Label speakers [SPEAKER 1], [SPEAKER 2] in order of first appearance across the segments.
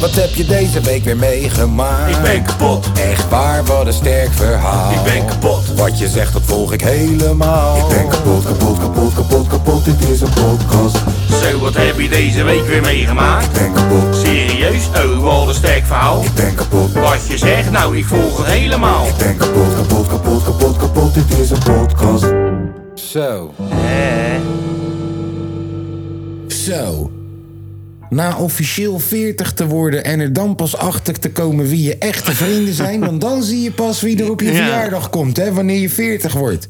[SPEAKER 1] Wat heb je deze week weer meegemaakt?
[SPEAKER 2] Ik ben kapot.
[SPEAKER 1] Echt waar, wat een sterk verhaal.
[SPEAKER 2] Ik ben kapot.
[SPEAKER 1] Wat je zegt, dat volg ik helemaal.
[SPEAKER 3] Ik ben kapot, kapot, kapot, kapot, kapot, dit is een podcast.
[SPEAKER 2] Zo, wat heb je deze week weer meegemaakt?
[SPEAKER 3] Ik ben kapot,
[SPEAKER 2] Serieus? Oh, wat een sterk verhaal.
[SPEAKER 3] ik ben kapot,
[SPEAKER 2] Wat je zegt, nou, ik volg het helemaal.
[SPEAKER 3] ik ben kapot, kapot, kapot, kapot, kapot, dit is een podcast.
[SPEAKER 1] Zo. Zo. Na officieel 40 te worden en er dan pas achter te komen wie je echte vrienden zijn, want dan zie je pas wie er op je
[SPEAKER 4] Ja.
[SPEAKER 1] verjaardag komt, hè, wanneer je 40 wordt.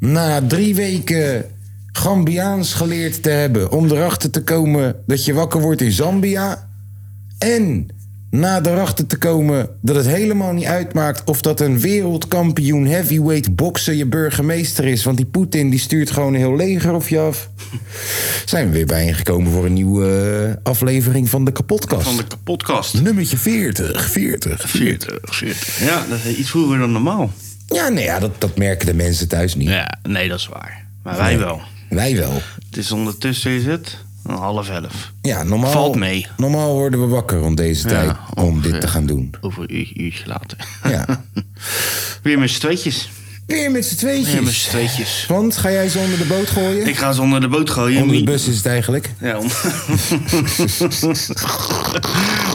[SPEAKER 1] Na drie weken Gambiaans geleerd te hebben, om erachter te komen dat je wakker wordt in Zambia. En na erachter te komen dat het helemaal niet uitmaakt of dat een wereldkampioen heavyweight boksen je burgemeester is. Want die Poetin die stuurt gewoon een heel leger of je af. Zijn we weer bijeengekomen voor een nieuwe eh, aflevering van de kapotkast.
[SPEAKER 4] Van de kapotkast.
[SPEAKER 1] Nummertje 40, 40.
[SPEAKER 4] 40, 40. Ja, dat is iets vroeger dan normaal.
[SPEAKER 1] Ja, nee, ja, dat, dat merken de mensen thuis niet.
[SPEAKER 4] Ja, nee, dat is waar. Maar wij wel.
[SPEAKER 1] Wij wel.
[SPEAKER 4] Het is ondertussen is het een half elf.
[SPEAKER 1] Ja, normaal,
[SPEAKER 4] Valt mee.
[SPEAKER 1] normaal worden we wakker rond deze tijd om dit
[SPEAKER 4] ongeveer.
[SPEAKER 1] te gaan doen.
[SPEAKER 4] Over een uur- uurtje later.
[SPEAKER 1] Ja.
[SPEAKER 4] Weer met z'n tweetjes.
[SPEAKER 1] Weer met z'n tweetjes.
[SPEAKER 4] Weer met z'n tweetjes.
[SPEAKER 1] Want ga jij ze onder de boot gooien?
[SPEAKER 4] Ik ga ze onder de boot gooien.
[SPEAKER 1] Onder de
[SPEAKER 4] Niet-
[SPEAKER 1] bus is het eigenlijk.
[SPEAKER 4] Ja, on-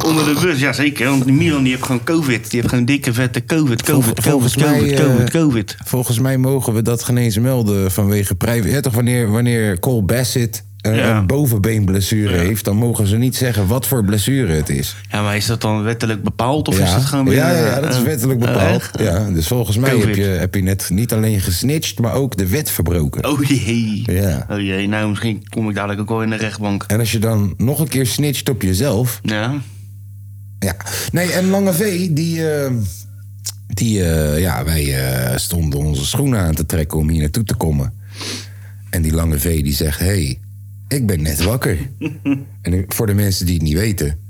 [SPEAKER 4] onder de bus, ja zeker. Want die Milan die heeft gewoon covid. Die heeft gewoon dikke vette covid, covid,
[SPEAKER 1] volgens
[SPEAKER 4] covid, covid,
[SPEAKER 1] mij, eh,
[SPEAKER 4] covid, covid.
[SPEAKER 1] Volgens mij mogen we dat geen eens melden vanwege privé. Ja, toch wanneer, wanneer Cole Bassett een,
[SPEAKER 4] Ja.
[SPEAKER 1] een bovenbeenblessure heeft, dan mogen ze niet zeggen wat voor blessure het is.
[SPEAKER 4] Ja, maar is dat dan wettelijk bepaald of
[SPEAKER 1] ja.
[SPEAKER 4] is dat gewoon weer...
[SPEAKER 1] ja, ja, ja, dat is
[SPEAKER 4] eh,
[SPEAKER 1] wettelijk
[SPEAKER 4] eh,
[SPEAKER 1] bepaald.
[SPEAKER 4] echt?
[SPEAKER 1] ja, dus volgens mij heb
[SPEAKER 4] Covid.
[SPEAKER 1] je, heb je net niet alleen gesnitcht, maar ook de wet verbroken.
[SPEAKER 4] Oh jee.
[SPEAKER 1] Ja.
[SPEAKER 4] Oh jee, nou misschien kom ik dadelijk ook wel in de rechtbank.
[SPEAKER 1] En als je dan nog een keer snitcht op jezelf,
[SPEAKER 4] Ja.
[SPEAKER 1] Ja. Nee, en Lange V, die... eh, die eh, ja, wij eh, stonden onze schoenen aan te trekken om hier naartoe te komen. En die Lange V die zegt... Hé, hey, ik ben net wakker. en nu, voor de mensen die het niet weten...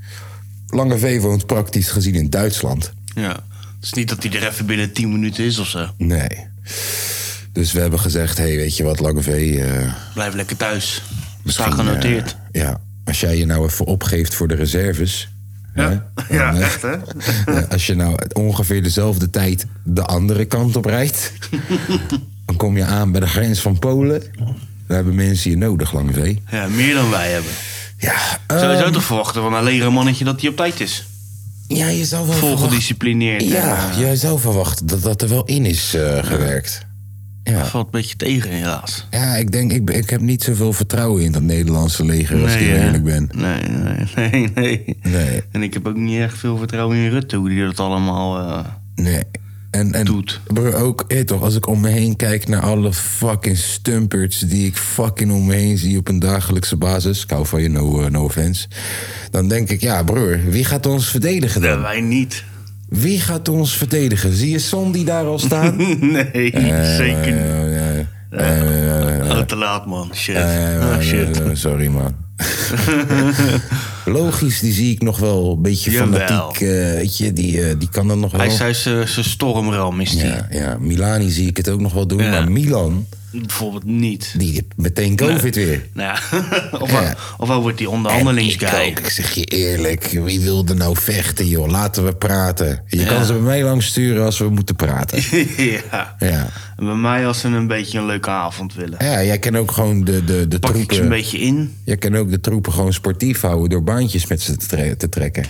[SPEAKER 1] Lange V woont praktisch gezien in Duitsland.
[SPEAKER 4] Ja. Het is niet dat hij er even binnen 10 minuten is of zo.
[SPEAKER 1] Nee. Dus we hebben gezegd... Hé, hey, weet je wat, Lange V... eh,
[SPEAKER 4] Blijf lekker thuis. Staat
[SPEAKER 1] misschien,
[SPEAKER 4] genoteerd.
[SPEAKER 1] eh, ja, als jij je nou even opgeeft voor de reserves... eh,
[SPEAKER 4] ja. ja, echt hè?
[SPEAKER 1] Ja, als je nou ongeveer dezelfde tijd de andere kant op rijdt, dan kom je aan bij de grens van Polen. Daar hebben mensen je nodig, Lange V.
[SPEAKER 4] Ja, meer dan wij hebben.
[SPEAKER 1] Ja, eh,
[SPEAKER 4] Zou je zo toch verwachten van een leren mannetje dat hij op tijd is?
[SPEAKER 1] ja je zou wel verwachten,
[SPEAKER 4] Volgedisciplineerd.
[SPEAKER 1] ja,
[SPEAKER 4] en, eh,
[SPEAKER 1] jij zou verwachten dat dat er wel in is eh, gewerkt. Ja.
[SPEAKER 4] Valt een beetje tegen helaas.
[SPEAKER 1] ja, ik denk, ik, ik heb niet zoveel vertrouwen in dat Nederlandse leger als ik heel
[SPEAKER 4] hè?
[SPEAKER 1] eerlijk ben.
[SPEAKER 4] Nee, nee, nee, nee,
[SPEAKER 1] Nee.
[SPEAKER 4] En ik heb ook niet echt veel vertrouwen in Rutte, hoe die dat allemaal... eh,
[SPEAKER 1] Nee. En, en
[SPEAKER 4] Doet.
[SPEAKER 1] Bro, ook, eh, toch, als ik om me heen kijk naar alle fucking stumperts die ik fucking om me heen zie op een dagelijkse basis. Ik hou van je, no, eh, no offense. Dan denk ik, ja broer, wie gaat ons verdedigen
[SPEAKER 4] ja,
[SPEAKER 1] dan?
[SPEAKER 4] wij niet.
[SPEAKER 1] Wie gaat ons verdedigen? Zie je Son die daar al staan?
[SPEAKER 4] Nee, zeker niet.
[SPEAKER 1] Eh, eh, eh, eh,
[SPEAKER 4] Oh, te laat man. Shit.
[SPEAKER 1] eh,
[SPEAKER 4] Ah, shit.
[SPEAKER 1] eh, sorry man. Logisch, die zie ik nog wel een beetje
[SPEAKER 4] Jawel.
[SPEAKER 1] fanatiek. eh, weet je, die, eh, die kan dan nog wel.
[SPEAKER 4] Hij zei zijn zijn stormram is die.
[SPEAKER 1] Ja, ja, Milani zie ik het ook nog wel doen.
[SPEAKER 4] Ja.
[SPEAKER 1] Maar Milan,
[SPEAKER 4] Bijvoorbeeld niet.
[SPEAKER 1] die heeft meteen COVID weer.
[SPEAKER 4] Nou, ja. of, hij, of hij wordt die
[SPEAKER 1] En
[SPEAKER 4] onderhandelingsguy.
[SPEAKER 1] Ik, ook, ik zeg je eerlijk, wie wil er nou vechten, joh? Laten we praten. Je kan ze bij mij lang sturen als we moeten praten.
[SPEAKER 4] ja.
[SPEAKER 1] Ja,
[SPEAKER 4] En Bij mij als ze een beetje een leuke avond willen.
[SPEAKER 1] ja jij kan ook gewoon de, de, de
[SPEAKER 4] Pak ik ze een
[SPEAKER 1] troepen...
[SPEAKER 4] beetje in.
[SPEAKER 1] Jij kan ook de troepen gewoon sportief houden door baantjes met ze te, tre- te trekken.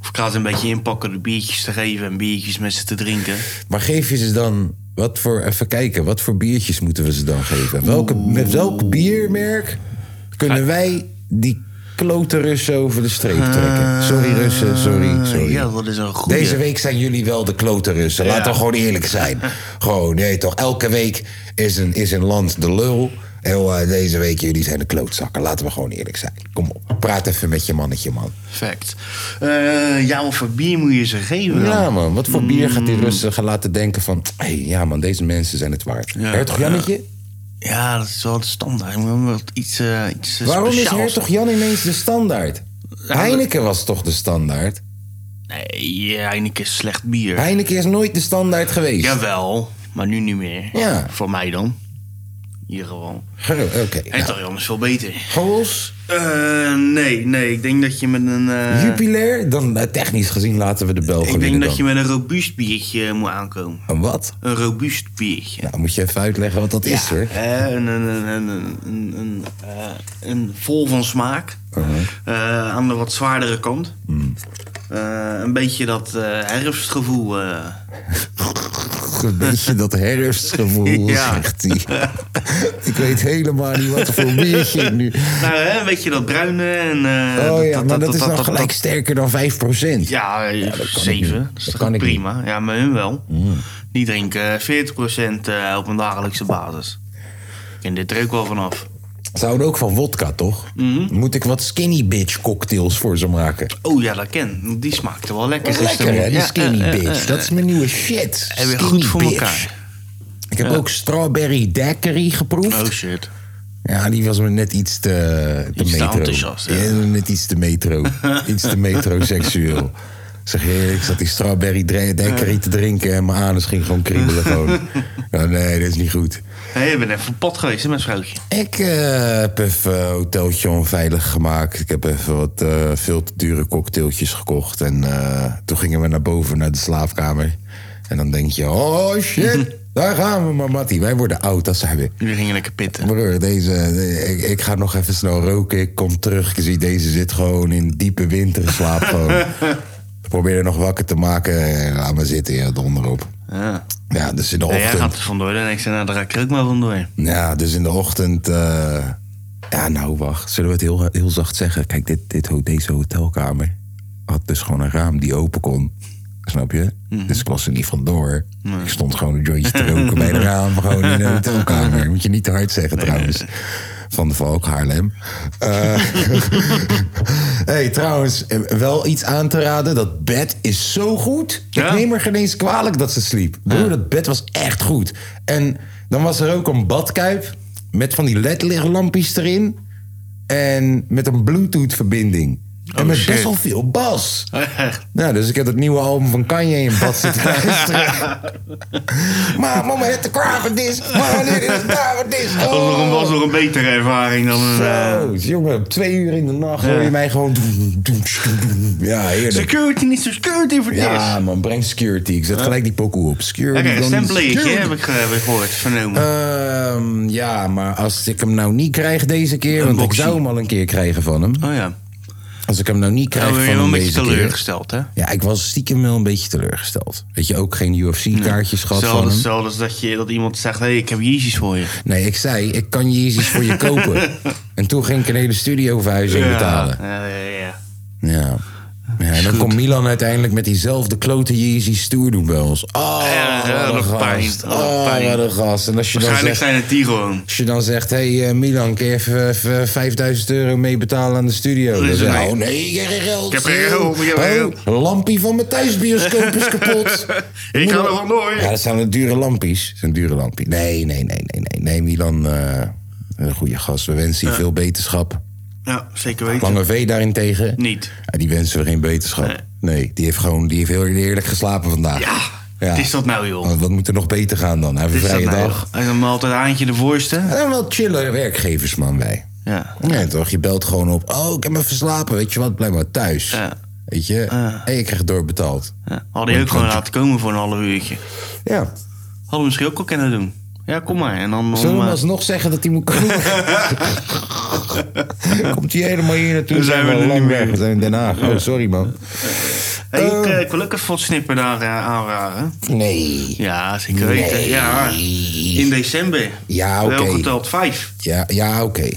[SPEAKER 4] Of ik ga ze een beetje inpakken de biertjes te geven en biertjes met ze te drinken.
[SPEAKER 1] Maar geef je ze dan... Wat voor, even kijken, wat voor biertjes moeten we ze dan geven? Welke, met welk biermerk kunnen wij die klote Russen over de streep trekken? Sorry Russen, sorry, sorry.
[SPEAKER 4] Eh, Ah, Ja, dat is een goede.
[SPEAKER 1] Deze week zijn jullie wel de klote Russen. Laten we gewoon eerlijk zijn. gewoon, nee toch, elke week is een, is een land de lul. En eh, deze week jullie zijn de klootzakken. Laten we gewoon eerlijk zijn. Kom op, praat even met je mannetje, man.
[SPEAKER 4] Perfect. Eh, ja, wat voor bier moet je ze geven dan?
[SPEAKER 1] Ja, man, wat voor bier gaat die
[SPEAKER 4] Mm.
[SPEAKER 1] Russen gaan laten denken van... Hé, hey, ja man, deze mensen zijn het waard.
[SPEAKER 4] Ja,
[SPEAKER 1] Hertog Jannetje?
[SPEAKER 4] Ja, dat is wel de standaard. Ik moet wel iets, eh iets eh,
[SPEAKER 1] Waarom is
[SPEAKER 4] speciaals.
[SPEAKER 1] Hertog Jan ineens de standaard?
[SPEAKER 4] maar-
[SPEAKER 1] Heineken was toch de standaard?
[SPEAKER 4] Nee, ja, Heineken is slecht bier.
[SPEAKER 1] Heineken is nooit de standaard geweest.
[SPEAKER 4] Jawel, maar nu niet meer.
[SPEAKER 1] Ja.
[SPEAKER 4] Voor mij dan. hier gewoon.
[SPEAKER 1] Gro- Oké.
[SPEAKER 4] En
[SPEAKER 1] nou,
[SPEAKER 4] toch anders veel beter.
[SPEAKER 1] Goals,
[SPEAKER 4] Eh, nee, nee. Ik denk dat je met een... eh,
[SPEAKER 1] jupiler. Dan eh, technisch gezien laten we de Belgen
[SPEAKER 4] ik denk
[SPEAKER 1] winnen
[SPEAKER 4] dat je
[SPEAKER 1] dan.
[SPEAKER 4] met een robuust biertje moet aankomen.
[SPEAKER 1] Een wat?
[SPEAKER 4] Een robuust biertje.
[SPEAKER 1] Nou, moet je even uitleggen wat dat is hoor.
[SPEAKER 4] hè, een, een, een, een, een, een, een, eh, een vol van smaak.
[SPEAKER 1] Uh-huh.
[SPEAKER 4] Eh, aan de wat zwaardere kant.
[SPEAKER 1] Mm.
[SPEAKER 4] Eh, een beetje dat eh, herfstgevoel. eh.
[SPEAKER 1] Een beetje dat herfstgevoel,
[SPEAKER 4] Ja.
[SPEAKER 1] zegt hij. Ik weet helemaal niet wat er voor biertje ik nu...
[SPEAKER 4] nou, hè, een beetje dat bruine. En, eh,
[SPEAKER 1] Oh ja, maar dat is nog
[SPEAKER 4] dat-
[SPEAKER 1] gelijk sterker dan 5%.
[SPEAKER 4] Ja, zeven.
[SPEAKER 1] niet. Mm.
[SPEAKER 4] Dat is
[SPEAKER 1] Dat
[SPEAKER 4] toch
[SPEAKER 1] kan ik
[SPEAKER 4] prima. Ja, maar hun wel. Die drinken 40% eh, op een dagelijkse basis. En dit er ook wel vanaf.
[SPEAKER 1] Ze houden ook van wodka, toch?
[SPEAKER 4] Mhm.
[SPEAKER 1] Moet ik wat skinny bitch cocktails voor ze maken?
[SPEAKER 4] Oh ja, dat ken. Die smaakte wel lekker
[SPEAKER 1] Lekker,
[SPEAKER 4] gisteren.
[SPEAKER 1] hè, die
[SPEAKER 4] Ja,
[SPEAKER 1] skinny
[SPEAKER 4] eh, eh,
[SPEAKER 1] bitch. Dat is mijn nieuwe shit.
[SPEAKER 4] En weer
[SPEAKER 1] Skinny
[SPEAKER 4] goed voor
[SPEAKER 1] bitch.
[SPEAKER 4] elkaar.
[SPEAKER 1] Ik heb ook strawberry daiquiri
[SPEAKER 4] Oh
[SPEAKER 1] geproefd.
[SPEAKER 4] shit.
[SPEAKER 1] Ja, die was me net iets te, te
[SPEAKER 4] Iets te
[SPEAKER 1] metro.
[SPEAKER 4] enthousiast, ja.
[SPEAKER 1] Ja, net iets te metro. iets te metroseksueel. Zeg je, ik zat die strawberry dra- daiquiri te drinken en mijn anus ging gewoon kriebelen. Gewoon. Ja, nee, dat is niet goed.
[SPEAKER 4] Hé, je bent even op pot geweest hè, met vrouwtje.
[SPEAKER 1] Ik eh, heb even een hoteltje onveilig gemaakt. Ik heb even wat eh, veel te dure cocktailtjes gekocht. En eh, toen gingen we naar boven, naar de slaapkamer. En dan denk je, oh shit, daar gaan we maar, Mattie. Wij worden oud, dat zijn we.
[SPEAKER 4] Jullie gingen lekker pitten.
[SPEAKER 1] Broer, deze, ik, ik ga nog even snel roken. Ik kom terug. Ik zie, deze zit gewoon in diepe winterslaap. gewoon. Ik probeer er nog wakker te maken. Eh, Laat me zitten, ja, donderop.
[SPEAKER 4] Nou Ja.
[SPEAKER 1] Ja, dus in de
[SPEAKER 4] Nee,
[SPEAKER 1] ochtend...
[SPEAKER 4] jij gaat er vandoor. Dan denk ik, nou, daar ga ik er ook maar vandoor.
[SPEAKER 1] Ja, dus in de ochtend. eh, ja, nou wacht. Zullen we het heel, heel zacht zeggen? Kijk, dit, dit, ho- deze hotelkamer had dus gewoon een raam die open kon. Snap je? Dus ik was er niet vandoor. Ik stond gewoon een jointje te roken bij de raam. Gewoon in de hotelkamer. Moet je niet te hard zeggen trouwens. Van de Valk, Haarlem. Eh, hey, trouwens, eh, wel iets aan te raden. Dat bed is zo goed.
[SPEAKER 4] Ja?
[SPEAKER 1] Ik neem er geen eens kwalijk dat ze sliep. Broer, dat bed was echt goed. En dan was er ook een badkuip met van die ledlichtlampjes erin. En met een bluetooth-verbinding. en met
[SPEAKER 4] Oh, shit.
[SPEAKER 1] best wel veel bas.
[SPEAKER 4] Echt.
[SPEAKER 1] Nou, dus ik heb het nieuwe album van Kanye in bad zitten luisteren. maar mama het de kravendisk. Maar dit is kravendisk.
[SPEAKER 4] Dat was nog een,
[SPEAKER 1] Oh.
[SPEAKER 4] was nog een betere ervaring dan een... eh,
[SPEAKER 1] Zo, jongen, om twee uur in de nacht hoor je mij gewoon... Ja, heerlijk.
[SPEAKER 4] security, niet zo security voor dit.
[SPEAKER 1] Ja, man, breng security. Ik zet gelijk die pokoe op. Security.
[SPEAKER 4] Lekker, een
[SPEAKER 1] dan
[SPEAKER 4] stemplate
[SPEAKER 1] security.
[SPEAKER 4] heb ik eh, heb ik gehoord, vernomen.
[SPEAKER 1] Ehm, ja, maar als ik hem nou niet krijg deze keer... want ik
[SPEAKER 4] boxie.
[SPEAKER 1] zou hem al een keer krijgen van hem.
[SPEAKER 4] oh ja.
[SPEAKER 1] Als ik hem nou niet krijg
[SPEAKER 4] Nou, ben je
[SPEAKER 1] van
[SPEAKER 4] wel
[SPEAKER 1] hem
[SPEAKER 4] een beetje
[SPEAKER 1] deze keer...
[SPEAKER 4] teleurgesteld, hè?
[SPEAKER 1] Ja, ik was stiekem wel een beetje teleurgesteld. Weet je, ook geen UFC-kaartjes gehad van
[SPEAKER 4] Hetzelfde
[SPEAKER 1] hem.
[SPEAKER 4] hetzelfde als dat, je, dat iemand zegt, hé, hey, ik heb Jezus voor je.
[SPEAKER 1] Nee, ik zei, ik kan Jezus voor je kopen. En toen ging ik een hele studioverhuizing betalen.
[SPEAKER 4] Ja, ja, ja.
[SPEAKER 1] Ja. ja en dan komt Milan uiteindelijk met diezelfde klote Yeezy stoer doen bij ons. Oh,
[SPEAKER 4] Ja, ja,
[SPEAKER 1] wat
[SPEAKER 4] dat
[SPEAKER 1] een
[SPEAKER 4] pijn,
[SPEAKER 1] gast.
[SPEAKER 4] dat pijn.
[SPEAKER 1] Oh, wat een gast. En als je dan
[SPEAKER 4] Waarschijnlijk
[SPEAKER 1] zegt,
[SPEAKER 4] zijn het die gewoon.
[SPEAKER 1] als je dan zegt, hé hey, eh, Milan, kun je even, even 5000 euro mee betalen aan de studio? Dan
[SPEAKER 4] is
[SPEAKER 1] zeg
[SPEAKER 4] het
[SPEAKER 1] je,
[SPEAKER 4] niet.
[SPEAKER 1] oh nee, ik heb geen geld.
[SPEAKER 4] Ik heb geen geld, ik heb
[SPEAKER 1] Oh,
[SPEAKER 4] geen geld.
[SPEAKER 1] een lampie van mijn thuisbioscoop is kapot.
[SPEAKER 4] Ik ga er wel door.
[SPEAKER 1] Ja, dat zijn wel dure lampies. Dat zijn dure lampie. Nee, nee, nee, nee, nee. Nee, Milan, eh, een goede gast. We wensen je veel beterschap.
[SPEAKER 4] Ja, zeker weten.
[SPEAKER 1] Lange V daarentegen.
[SPEAKER 4] Niet.
[SPEAKER 1] Ja, die wensen we geen beterschap. Nee,
[SPEAKER 4] Nee.
[SPEAKER 1] die heeft gewoon die heeft heel heerlijk geslapen vandaag.
[SPEAKER 4] Ja, het is dat nou, joh.
[SPEAKER 1] Want wat moet er nog beter gaan dan? Hij heeft
[SPEAKER 4] Dit
[SPEAKER 1] een
[SPEAKER 4] is dat
[SPEAKER 1] vrije
[SPEAKER 4] nou,
[SPEAKER 1] dag.
[SPEAKER 4] joh. Hij is allemaal altijd aantje de voorste.
[SPEAKER 1] We zijn wel chille werkgevers, man, wij.
[SPEAKER 4] Ja.
[SPEAKER 1] Nee, toch? Je belt gewoon op. Oh, ik heb me verslapen. Weet je wat? Blijf maar thuis.
[SPEAKER 4] Ja.
[SPEAKER 1] Weet je? En je krijgt doorbetaald.
[SPEAKER 4] Ja. Hadden je ook gewoon laten komen voor een half uurtje.
[SPEAKER 1] Ja.
[SPEAKER 4] Hadden we misschien ook al kunnen doen. Ja, kom maar. En dan
[SPEAKER 1] Zullen we
[SPEAKER 4] om,
[SPEAKER 1] hem
[SPEAKER 4] eh,
[SPEAKER 1] alsnog zeggen dat hij moet komen? Komt hij helemaal hier naartoe?
[SPEAKER 4] Dan zijn we
[SPEAKER 1] al
[SPEAKER 4] er
[SPEAKER 1] lang
[SPEAKER 4] niet
[SPEAKER 1] weg.
[SPEAKER 4] meer.
[SPEAKER 1] We zijn in Den Haag. Oh, sorry, man.
[SPEAKER 4] hey, ik, eh, ik wil ook even wat snipper daar eh, aanraden.
[SPEAKER 1] Nee.
[SPEAKER 4] Ja, zeker weten.
[SPEAKER 1] Nee.
[SPEAKER 4] Ja, in december.
[SPEAKER 1] Ja, oké.
[SPEAKER 4] Wel geteld vijf.
[SPEAKER 1] Ja, ja oké.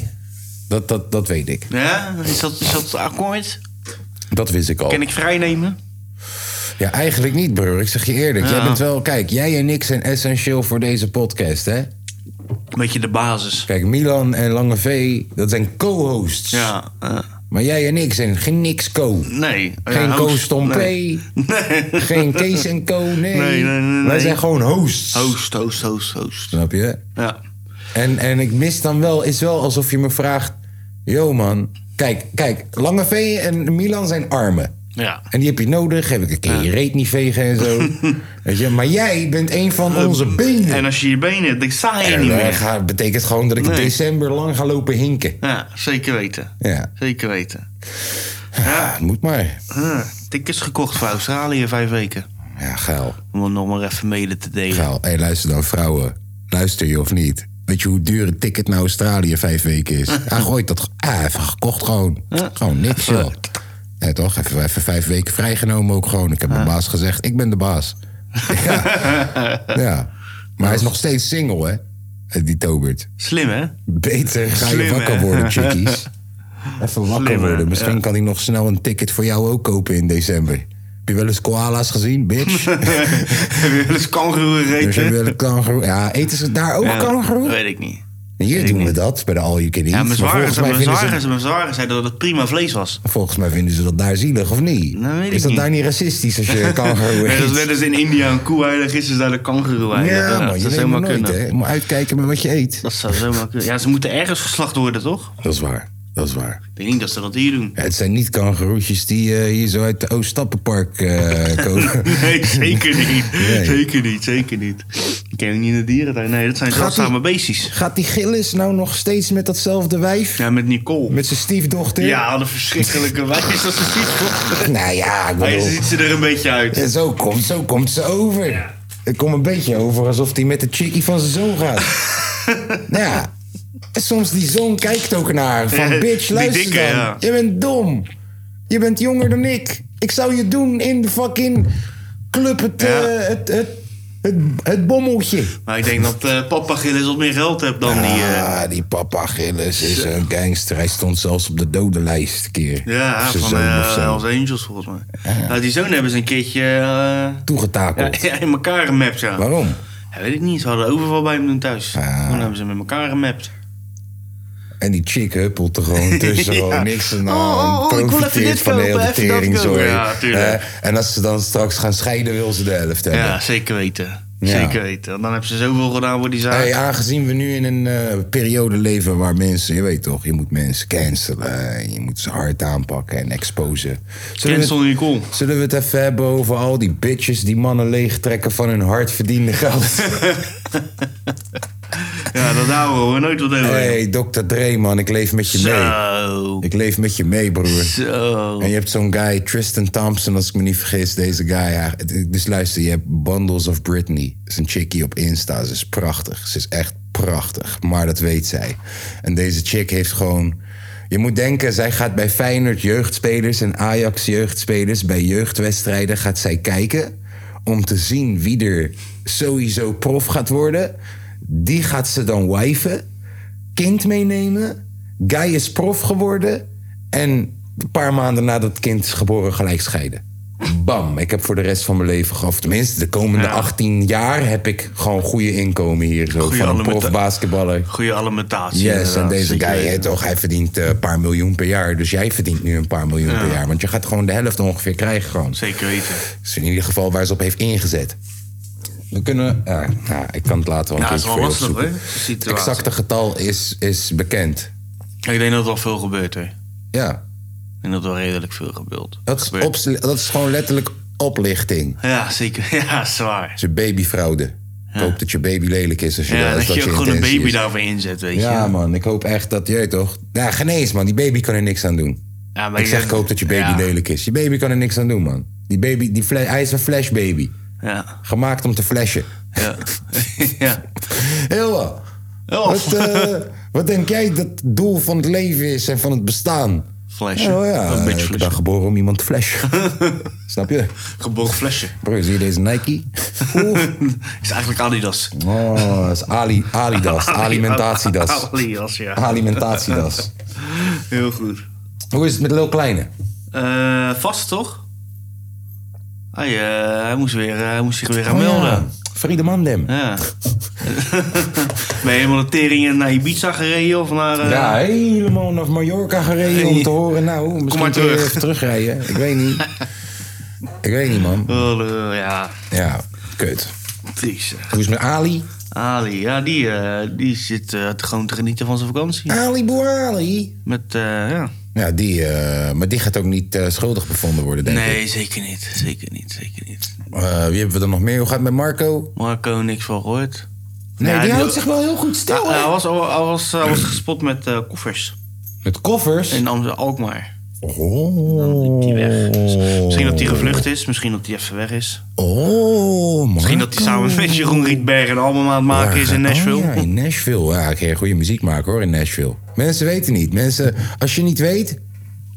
[SPEAKER 1] Dat, dat, dat weet ik.
[SPEAKER 4] Ja, is dat, is dat akkoord?
[SPEAKER 1] Dat wist ik al.
[SPEAKER 4] Kan ik vrijnemen?
[SPEAKER 1] Ja, eigenlijk niet, broer. Ik zeg je eerlijk. Jij
[SPEAKER 4] Ja.
[SPEAKER 1] bent wel... Kijk, jij en ik zijn essentieel voor deze podcast, hè?
[SPEAKER 4] Een beetje de basis.
[SPEAKER 1] Kijk, Milan en Lange V, dat zijn co-hosts.
[SPEAKER 4] Ja, eh,
[SPEAKER 1] Maar jij en ik zijn geen niks co.
[SPEAKER 4] nee. Oh
[SPEAKER 1] Geen
[SPEAKER 4] ja,
[SPEAKER 1] Koos
[SPEAKER 4] host.
[SPEAKER 1] Stompé.
[SPEAKER 4] Nee.
[SPEAKER 1] Geen Kees en Co. Nee.
[SPEAKER 4] nee, nee,
[SPEAKER 1] Wij
[SPEAKER 4] nee.
[SPEAKER 1] zijn gewoon hosts.
[SPEAKER 4] Host, host, host, host.
[SPEAKER 1] Snap je?
[SPEAKER 4] Ja.
[SPEAKER 1] En, en ik mis dan wel... Is wel alsof je me vraagt... Yo, man. Kijk, kijk. Lange V en Milan zijn armen.
[SPEAKER 4] Ja.
[SPEAKER 1] En die heb je nodig. Heb ik een keer je reet niet vegen en zo. Weet je, maar jij bent een van onze benen.
[SPEAKER 4] En als je je benen, dan sta je
[SPEAKER 1] En
[SPEAKER 4] niet
[SPEAKER 1] dat
[SPEAKER 4] meer.
[SPEAKER 1] gaat- betekent gewoon dat ik in
[SPEAKER 4] Nee.
[SPEAKER 1] december lang ga lopen hinken.
[SPEAKER 4] Ja, zeker weten.
[SPEAKER 1] Ja,
[SPEAKER 4] Zeker weten.
[SPEAKER 1] ah, het moet maar.
[SPEAKER 4] Ah, tickets gekocht voor Australië vijf weken.
[SPEAKER 1] Ja, geil.
[SPEAKER 4] Om het nog maar even mede te delen.
[SPEAKER 1] Geil. Hé, luister dan, vrouwen. Luister je of niet? Weet je hoe duur een ticket naar Australië vijf weken is? Hij gooit dat ge- ah, even gekocht gewoon. Gewoon niks, joh. Ja, toch? Even, even vijf weken vrijgenomen ook gewoon. Ik heb mijn baas gezegd, ik ben de baas. Ja. ja. Maar hij is nog steeds single, hè? Eh, Die Tobert.
[SPEAKER 4] Slim, hè?
[SPEAKER 1] Beter ga je
[SPEAKER 4] Slim,
[SPEAKER 1] wakker
[SPEAKER 4] hè?
[SPEAKER 1] worden, chickies. Even wakker
[SPEAKER 4] Slim, hè?
[SPEAKER 1] worden. Misschien kan hij nog snel een ticket voor jou ook kopen in december. Heb je wel eens koala's gezien, bitch?
[SPEAKER 4] Heb je wel eens kangoeroe
[SPEAKER 1] dus heb je
[SPEAKER 4] gegeten?
[SPEAKER 1] wel een kangoeroe? Ja, eten ze daar ook
[SPEAKER 4] Ja,
[SPEAKER 1] kangoeroe?
[SPEAKER 4] Weet ik niet.
[SPEAKER 1] Hier doen we dat, bij de All You Can Eat.
[SPEAKER 4] Ja, mijn
[SPEAKER 1] Maar
[SPEAKER 4] zwager,
[SPEAKER 1] volgens mij,
[SPEAKER 4] mijn
[SPEAKER 1] vinden
[SPEAKER 4] zwager,
[SPEAKER 1] ze,
[SPEAKER 4] mijn zwager zei dat het prima vlees was.
[SPEAKER 1] volgens mij vinden ze dat daar zielig, of niet?
[SPEAKER 4] Nou, weet ik
[SPEAKER 1] is dat
[SPEAKER 4] niet.
[SPEAKER 1] daar niet racistisch als je kangoeroe
[SPEAKER 4] Net als,
[SPEAKER 1] eet?
[SPEAKER 4] net als in India een koe heilig is, is daar de kangoeroe heilig.
[SPEAKER 1] Ja, man,
[SPEAKER 4] dat
[SPEAKER 1] je weet
[SPEAKER 4] zou
[SPEAKER 1] maar
[SPEAKER 4] zomaar
[SPEAKER 1] nooit,
[SPEAKER 4] kunnen.
[SPEAKER 1] hè. Je moet uitkijken met wat je eet.
[SPEAKER 4] Dat zou zomaar kunnen. Ja, ze moeten ergens geslacht worden, toch?
[SPEAKER 1] Dat is waar, dat is waar.
[SPEAKER 4] Ik denk niet dat ze dat hier doen.
[SPEAKER 1] Ja, het zijn niet kangoeroetjes die eh, hier zo uit de Oostappenpark eh komen.
[SPEAKER 4] Nee, zeker niet.
[SPEAKER 1] Nee.
[SPEAKER 4] Zeker niet, zeker niet. Ik ken ook niet naar dierentuin. Nee, dat zijn
[SPEAKER 1] Gaat-ie?
[SPEAKER 4] zeldzame beestjes.
[SPEAKER 1] Gaat die Gillis nou nog steeds met datzelfde wijf?
[SPEAKER 4] Ja, met Nicole.
[SPEAKER 1] Met zijn stiefdochter?
[SPEAKER 4] Ja, wat een verschrikkelijke wijs dat ze ziet.
[SPEAKER 1] Nou ja, ik
[SPEAKER 4] Hij
[SPEAKER 1] bedoel...
[SPEAKER 4] ziet ze er een beetje uit.
[SPEAKER 1] Ja, Zo komt, zo komt ze over. Het komt een beetje over alsof hij met de chickie van zijn zoon gaat. nou ja. En soms die zoon kijkt ook naar haar. Van
[SPEAKER 4] Ja,
[SPEAKER 1] bitch,
[SPEAKER 4] die
[SPEAKER 1] luister
[SPEAKER 4] dikke,
[SPEAKER 1] dan.
[SPEAKER 4] ja.
[SPEAKER 1] Je bent dom. Je bent jonger dan ik. Ik zou je doen in de fucking club het,
[SPEAKER 4] Ja.
[SPEAKER 1] eh, het, het, het, het bommeltje.
[SPEAKER 4] Maar ik denk dat eh, papa Gillis wat meer geld hebt dan die... eh,
[SPEAKER 1] Ah, die papa Gillis is een gangster. Hij stond zelfs op de dodenlijst een keer.
[SPEAKER 4] Ja,
[SPEAKER 1] Zijn
[SPEAKER 4] van
[SPEAKER 1] zoon
[SPEAKER 4] eh,
[SPEAKER 1] of zo.
[SPEAKER 4] Hells Angels volgens mij. Nou, die zoon hebben ze een keertje eh,
[SPEAKER 1] Toegetakeld.
[SPEAKER 4] ja, in elkaar gemapt, ja.
[SPEAKER 1] Waarom?
[SPEAKER 4] Ja, weet ik niet, ze hadden overval bij hem toen thuis.
[SPEAKER 1] Ah.
[SPEAKER 4] Toen hebben ze met elkaar gemapt.
[SPEAKER 1] En die chick huppelt er gewoon tussen. gewoon niks aan de
[SPEAKER 4] Oh, oh,
[SPEAKER 1] hand.
[SPEAKER 4] oh, ik wil even
[SPEAKER 1] Profiteert
[SPEAKER 4] dit
[SPEAKER 1] van de
[SPEAKER 4] kopen,
[SPEAKER 1] hele
[SPEAKER 4] even dat
[SPEAKER 1] teringzooi.
[SPEAKER 4] kopen. Ja, tuurlijk.
[SPEAKER 1] Eh, en als ze dan straks gaan scheiden, wil ze de helft hebben.
[SPEAKER 4] Ja, zeker weten.
[SPEAKER 1] Ja.
[SPEAKER 4] Zeker weten. Want Dan hebben ze zoveel gedaan voor die zaak.
[SPEAKER 1] Hey, aangezien we nu in een eh, periode leven waar mensen, je weet toch, je moet mensen cancelen. En je moet ze hard aanpakken en exposen. Zullen we,
[SPEAKER 4] Cancel
[SPEAKER 1] het,
[SPEAKER 4] Nicole.
[SPEAKER 1] zullen we het even hebben over al die bitches die mannen leegtrekken van hun hard verdiende geld?
[SPEAKER 4] Ja, dat houden we nooit wat over.
[SPEAKER 1] hey, Dr. Dre, man, ik leef met je mee.
[SPEAKER 4] Zo.
[SPEAKER 1] Ik leef met je mee, broer.
[SPEAKER 4] Zo.
[SPEAKER 1] En je hebt zo'n guy, Tristan Thompson, als ik me niet vergis, deze guy. Ja, het- dus luister, je hebt Bundles of Britney. Dat is een chickie op Insta. Ze is prachtig. Ze is echt prachtig. Maar dat weet zij. En deze chick heeft gewoon... Je moet denken, zij gaat bij Feyenoord jeugdspelers en Ajax jeugdspelers... bij jeugdwedstrijden gaat zij kijken om te zien wie er sowieso prof gaat worden. Die gaat ze dan wijven kind meenemen. Guy is prof geworden. En een paar maanden nadat het kind is geboren gelijk scheiden. Bam. Ik heb voor de rest van mijn leven, ge- of tenminste de komende
[SPEAKER 4] Ja.
[SPEAKER 1] 18 jaar... heb ik gewoon goede inkomen hier. Zo,
[SPEAKER 4] Goeie
[SPEAKER 1] van een
[SPEAKER 4] alimenta-
[SPEAKER 1] prof basketballer.
[SPEAKER 4] Goede alimentatie.
[SPEAKER 1] Yes, en
[SPEAKER 4] inderdaad,
[SPEAKER 1] deze
[SPEAKER 4] zeker
[SPEAKER 1] guy, hè,
[SPEAKER 4] weten.
[SPEAKER 1] toch, hij verdient eh, een paar miljoen per jaar. Dus jij verdient nu een paar miljoen
[SPEAKER 4] Ja.
[SPEAKER 1] per jaar. Want je gaat gewoon de helft ongeveer krijgen gewoon.
[SPEAKER 4] Zeker weten.
[SPEAKER 1] Dus in ieder geval waar ze op heeft ingezet. We kunnen... ja, nou, ik kan het later wel een
[SPEAKER 4] Ja, dat is
[SPEAKER 1] keertje
[SPEAKER 4] wel
[SPEAKER 1] voor je
[SPEAKER 4] lastig,
[SPEAKER 1] opzoeken.
[SPEAKER 4] hoor. de situatie.
[SPEAKER 1] Exacte getal is, is bekend.
[SPEAKER 4] Ik denk dat er al veel gebeurt, hè.
[SPEAKER 1] Ja,
[SPEAKER 4] En dat er wel redelijk veel gebeurt.
[SPEAKER 1] dat is,
[SPEAKER 4] Gebeurt.
[SPEAKER 1] ops- dat is gewoon letterlijk oplichting.
[SPEAKER 4] Ja, zeker. Ja, zwaar.
[SPEAKER 1] Het is een babyfraude. Ik hoop dat je baby lelijk is als je
[SPEAKER 4] Ja,
[SPEAKER 1] als
[SPEAKER 4] dat, je ook gewoon een
[SPEAKER 1] intentie
[SPEAKER 4] baby
[SPEAKER 1] is.
[SPEAKER 4] daarvoor inzet, weet je.
[SPEAKER 1] Ja, man, ik hoop echt dat jij toch. Ja, geen eens, man. Die baby kan er niks aan doen.
[SPEAKER 4] Ja, maar
[SPEAKER 1] ik zeg, ik hoop dat je baby
[SPEAKER 4] ja,
[SPEAKER 1] lelijk is. Je baby kan er niks aan doen, man. Die baby, die fla- hij is een flashbaby.
[SPEAKER 4] Ja,
[SPEAKER 1] Gemaakt om te flashen.
[SPEAKER 4] ja. ja.
[SPEAKER 1] Heel wel.
[SPEAKER 4] Oh.
[SPEAKER 1] Wat, eh, wat denk jij dat het doel van het leven is en van het bestaan?
[SPEAKER 4] Flesje.
[SPEAKER 1] Oh ja,
[SPEAKER 4] Een beetje
[SPEAKER 1] ik ben
[SPEAKER 4] flesje.
[SPEAKER 1] geboren om iemand te flashen. Snap je?
[SPEAKER 4] Geboren flesje.
[SPEAKER 1] Bro, zie je deze Nike? Oeh.
[SPEAKER 4] Is eigenlijk Adidas.
[SPEAKER 1] Oh, dat is Ali, Alidas. Alimentatiedas.
[SPEAKER 4] Adidas,
[SPEAKER 1] Ah.
[SPEAKER 4] ja.
[SPEAKER 1] Alimentatiedas.
[SPEAKER 4] Heel goed.
[SPEAKER 1] Hoe is het met Lil Kleine?
[SPEAKER 4] Eh, vast, toch? Hij, eh, hij, moest weer, eh, hij moest zich weer gaan
[SPEAKER 1] Oh, ja.
[SPEAKER 4] melden.
[SPEAKER 1] Friede Mandem.
[SPEAKER 4] Ja. ben je helemaal de tering naar Ibiza gereden of naar... eh,
[SPEAKER 1] Ja, helemaal naar Mallorca gereden om te horen. Nou, misschien
[SPEAKER 4] maar
[SPEAKER 1] kun je
[SPEAKER 4] terug.
[SPEAKER 1] even terugrijden. Ik weet niet. Ik weet niet, man.
[SPEAKER 4] Oh, eh, ja,
[SPEAKER 1] Ja, kut.
[SPEAKER 4] precies.
[SPEAKER 1] Hoe is het met Ali?
[SPEAKER 4] Ali, ja, die, eh, die zit eh, gewoon te genieten van zijn vakantie.
[SPEAKER 1] Ali Boerali.
[SPEAKER 4] Met, eh, ja,
[SPEAKER 1] Ja, die, eh, maar die gaat ook niet eh, schuldig bevonden worden, denk ik.
[SPEAKER 4] Nee, zeker niet. Zeker niet, zeker niet.
[SPEAKER 1] Eh, wie hebben we dan nog meer? Hoe gaat het met Marco?
[SPEAKER 4] Marco, niks van gehoord.
[SPEAKER 1] Nee,
[SPEAKER 4] Ja,
[SPEAKER 1] die
[SPEAKER 4] die- Ah,
[SPEAKER 1] houdt zich wel heel goed stil,
[SPEAKER 4] Hij
[SPEAKER 1] hè?
[SPEAKER 4] hij was, al- hij was, hij was gespot met eh, koffers
[SPEAKER 1] Met koffers?
[SPEAKER 4] in Amsterdam Alkmaar. Dan liep
[SPEAKER 1] Oh.
[SPEAKER 4] hij weg. Dus misschien dat hij gevlucht is, misschien dat hij even weg is.
[SPEAKER 1] Oh, Marco.
[SPEAKER 4] Misschien dat hij samen met Jeroen Rietberg een album aan het maken is in Nashville.
[SPEAKER 1] Oh, ja, in Nashville. Ja, ik ga goede muziek maken hoor, in Nashville. Mensen weten niet. Mensen, als je niet weet,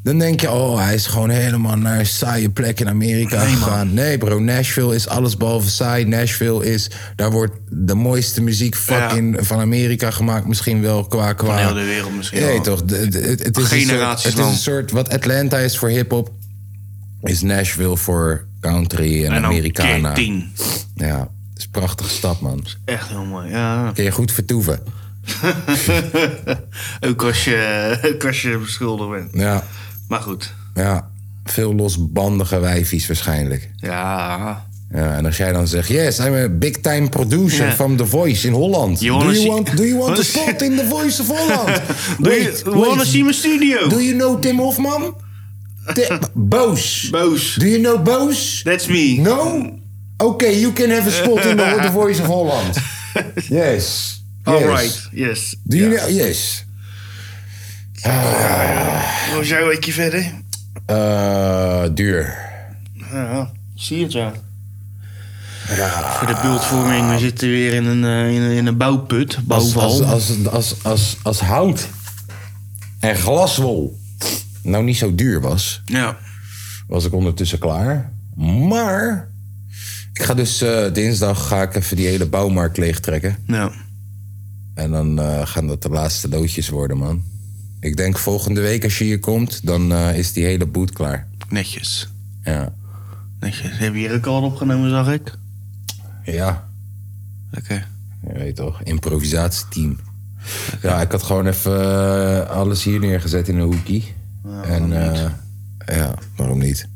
[SPEAKER 1] dan denk je... oh, hij is gewoon helemaal naar een saaie plek in Amerika gegaan. Nee bro, Nashville is alles behalve saai. Nashville is... daar wordt de mooiste muziek fucking van Amerika gemaakt. Misschien wel qua... qua
[SPEAKER 4] Van heel de wereld misschien
[SPEAKER 1] Nee
[SPEAKER 4] wel.
[SPEAKER 1] toch, de- de- het, het is een
[SPEAKER 4] Generaties
[SPEAKER 1] soort, het is een
[SPEAKER 4] lang.
[SPEAKER 1] soort... wat Atlanta is voor hiphop... is Nashville voor country en,
[SPEAKER 4] En dan
[SPEAKER 1] Americana.
[SPEAKER 4] keer tien.
[SPEAKER 1] Ja, het is een prachtige stad man.
[SPEAKER 4] Echt heel mooi, ja.
[SPEAKER 1] Kun je goed vertoeven.
[SPEAKER 4] ook, als je, ook als je beschuldigd bent.
[SPEAKER 1] Ja,
[SPEAKER 4] Maar goed,
[SPEAKER 1] ja. Veel losbandige wijfies waarschijnlijk.
[SPEAKER 4] ja.
[SPEAKER 1] Ja, en als jij dan zegt, yes, I'm a big time producer
[SPEAKER 4] Ja.
[SPEAKER 1] van The Voice in Holland.
[SPEAKER 4] You
[SPEAKER 1] do,
[SPEAKER 4] wanna
[SPEAKER 1] you
[SPEAKER 4] see-
[SPEAKER 1] want, do you want a
[SPEAKER 4] wanna
[SPEAKER 1] spot in The Voice of Holland?
[SPEAKER 4] Doe
[SPEAKER 1] Wait,
[SPEAKER 4] je, wanna
[SPEAKER 1] wait.
[SPEAKER 4] see mijn studio?
[SPEAKER 1] Do you know Tim Hofman? Ti- Boos.
[SPEAKER 4] Boos.
[SPEAKER 1] Do you know Boos?
[SPEAKER 4] That's me.
[SPEAKER 1] No? Okay, you can have a spot in The, the Voice of Holland. Yes.
[SPEAKER 4] All
[SPEAKER 1] Yes.
[SPEAKER 4] right, yes.
[SPEAKER 1] Do you know? Yes.
[SPEAKER 4] Hoe was jouw weekje verder?
[SPEAKER 1] Eh, duur.
[SPEAKER 4] Ja, zie het ja. Voor de beeldvorming, we zitten weer in een, eh, in een, in een bouwput,
[SPEAKER 1] Als,
[SPEAKER 4] bouwval.
[SPEAKER 1] als, als, als, als, als hout en glaswol nou niet zo duur was,
[SPEAKER 4] Ja.
[SPEAKER 1] was ik ondertussen klaar. Maar ik ga dus eh, dinsdag ga ik even die hele bouwmarkt leegtrekken.
[SPEAKER 4] ja.
[SPEAKER 1] En dan eh, gaan dat de laatste loodjes worden, man. Ik denk volgende week als je hier komt, dan eh, is die hele boot klaar.
[SPEAKER 4] Netjes.
[SPEAKER 1] Ja.
[SPEAKER 4] Netjes. Hebben je hier ook al opgenomen, zag ik?
[SPEAKER 1] Ja,
[SPEAKER 4] Lekker.
[SPEAKER 1] je weet toch, improvisatieteam. Ja, ik had gewoon even eh, alles hier neergezet in een hoekie. en eh, ja, waarom niet?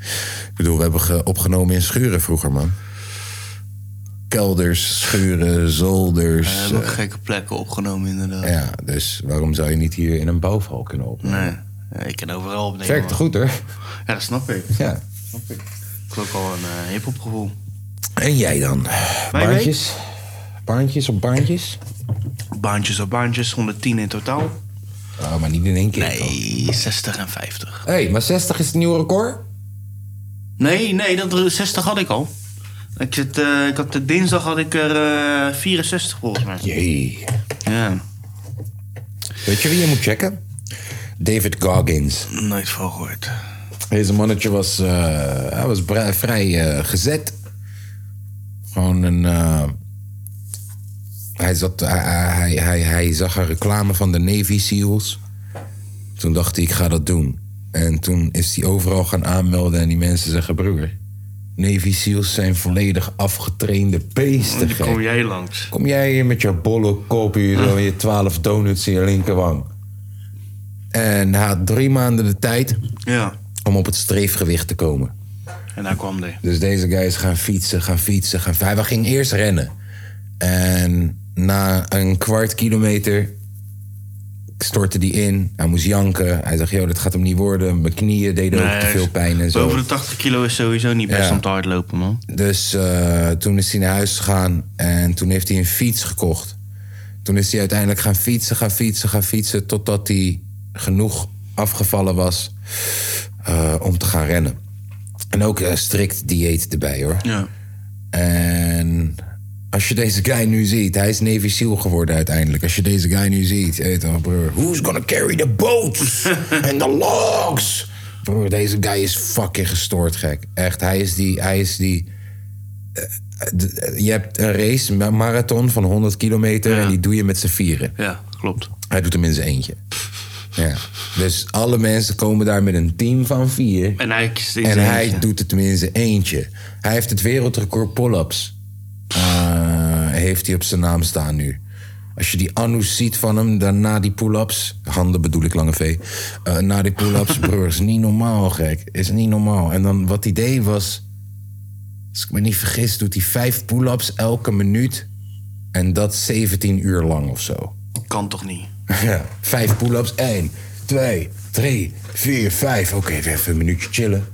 [SPEAKER 1] Ik bedoel, we hebben ge- opgenomen in schuren vroeger, man. Kelders, schuren,
[SPEAKER 4] We
[SPEAKER 1] zolders.
[SPEAKER 4] hebben ook gekke plekken opgenomen, inderdaad.
[SPEAKER 1] eh, ja, dus waarom zou je niet hier in een bouwval kunnen opnemen?
[SPEAKER 4] Nee. Ja, ik kan overal opnemen.
[SPEAKER 1] Werkt
[SPEAKER 4] man.
[SPEAKER 1] goed, hoor.
[SPEAKER 4] Ja, dat snap ik.
[SPEAKER 1] Ja.
[SPEAKER 4] Snap ik. Ik heb ook al een eh hip-hop gevoel.
[SPEAKER 1] En jij dan?
[SPEAKER 4] Mijn
[SPEAKER 1] Baantjes? Baantjes op baantjes?
[SPEAKER 4] Baantjes op baantjes, 110 in totaal.
[SPEAKER 1] Oh, maar niet in één keer. toch?
[SPEAKER 4] Nee, 60 en 50.
[SPEAKER 1] Hé, hey, maar 60 is het nieuwe record?
[SPEAKER 4] Nee, nee, dat 60 had ik al. Ik, zit, eh, ik had, dinsdag had ik er eh, 64 volgens mij.
[SPEAKER 1] Jee.
[SPEAKER 4] Ja,
[SPEAKER 1] Weet je wie je moet checken? David Goggins.
[SPEAKER 4] nooit van gehoord.
[SPEAKER 1] Deze mannetje was, eh, hij was bra- vrij eh, gezet. Gewoon een. eh, hij, zat, hij, hij, hij, hij zag een reclame van de Navy SEALs. Toen dacht hij, ik ga dat doen. En toen is hij overal gaan aanmelden en die mensen zeggen: broer, Navy SEALs zijn volledig afgetrainde beesten.
[SPEAKER 4] Dan
[SPEAKER 1] gek."
[SPEAKER 4] kom jij langs.
[SPEAKER 1] Kom jij hier met je bolle kop hier
[SPEAKER 4] Ah.
[SPEAKER 1] zo, je twaalf donuts in je linkerwang. En hij had drie maanden de tijd
[SPEAKER 4] Ja,
[SPEAKER 1] om op het streefgewicht te komen.
[SPEAKER 4] en daar kwam hij.
[SPEAKER 1] Dus deze guy is gaan fietsen, gaan fietsen, gaan fietsen. Hij ging eerst rennen. En na een kwart kilometer stortte hij in. Hij moest janken. Hij dacht, joh, dat gaat hem niet worden. Mijn knieën deden ook te veel pijn en zo.
[SPEAKER 4] Boven de 80 kilo is sowieso niet best
[SPEAKER 1] Ja.
[SPEAKER 4] om te hardlopen, man.
[SPEAKER 1] Dus eh, toen is hij naar huis gegaan en toen heeft hij een fiets gekocht. Toen is hij uiteindelijk gaan fietsen, gaan fietsen, gaan fietsen... totdat hij genoeg afgevallen was eh, om te gaan rennen. En ook eh, strikt dieet erbij, hoor.
[SPEAKER 4] Ja.
[SPEAKER 1] En als je deze guy nu ziet, hij is Navy SEAL geworden uiteindelijk. Als je deze guy nu ziet, weet je wel, broer, who's gonna carry the boats and the logs? Broer, deze guy is fucking gestoord gek. Echt, hij is die, hij is die. eh, d- eh, Je hebt een race, een marathon van 100 kilometer en die doe je met z'n vieren.
[SPEAKER 4] ja, klopt.
[SPEAKER 1] Hij doet hem in zijn eentje. Ja. Dus alle mensen komen daar met een team van vier.
[SPEAKER 4] En hij is in
[SPEAKER 1] En
[SPEAKER 4] zijn
[SPEAKER 1] hij
[SPEAKER 4] eentje.
[SPEAKER 1] doet het tenminste eentje. Hij heeft het wereldrecord pull-ups. eh, heeft hij op zijn naam staan nu. Als je die anus ziet van hem, dan na die pull-ups... Handen bedoel ik, lange vee. eh, na die pull-ups, broer, is niet normaal, gek. Is niet normaal. En dan wat hij deed was... Als ik me niet vergis, doet hij vijf pull-ups elke minuut. En dat 17 uur lang of zo.
[SPEAKER 4] Kan toch niet?
[SPEAKER 1] Ja, vijf pull-ups. Eén, twee, drie, vier, vijf. Oké, weer even een minuutje chillen.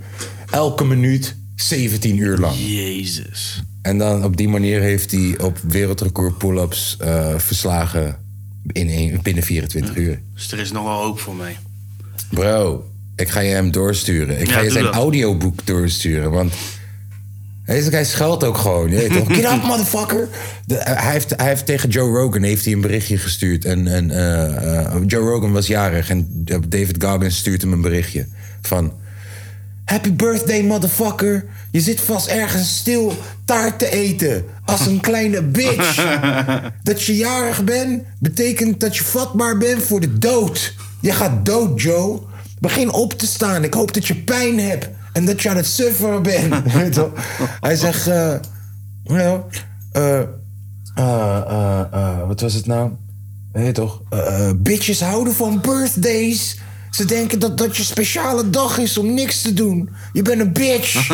[SPEAKER 1] Elke minuut 17 uur lang.
[SPEAKER 4] Jezus.
[SPEAKER 1] En dan op die manier heeft hij op wereldrecord pull-ups eh, verslagen in één- binnen 24 uur.
[SPEAKER 4] Dus er is nogal hoop voor mij.
[SPEAKER 1] Bro, ik ga je hem doorsturen. Ik
[SPEAKER 4] Ja,
[SPEAKER 1] ga je
[SPEAKER 4] doe
[SPEAKER 1] zijn
[SPEAKER 4] dat.
[SPEAKER 1] audioboek doorsturen. Want deze guy scheldt ook gewoon. Je weet toch? Get up, motherfucker! De- eh, hij, heeft, hij heeft tegen Joe Rogan heeft hij een berichtje gestuurd. En, en, eh, eh, Joe Rogan was jarig en eh, David Goggins stuurt hem een berichtje. Van, happy birthday, motherfucker. Je zit vast ergens stil taart te eten. Als een kleine bitch. Dat je jarig bent, betekent dat je vatbaar bent voor de dood. Je gaat dood, Joe. Begin op te staan. Ik hoop dat je pijn hebt. En dat je aan het sufferen bent. Weet je wel? Hij zegt... eh, nou, eh, eh, eh, eh, wat was het nou? Weet je toch? Eh, eh, bitches houden van birthdays. Ze denken dat dat je speciale dag is om niks te doen. Je bent een bitch.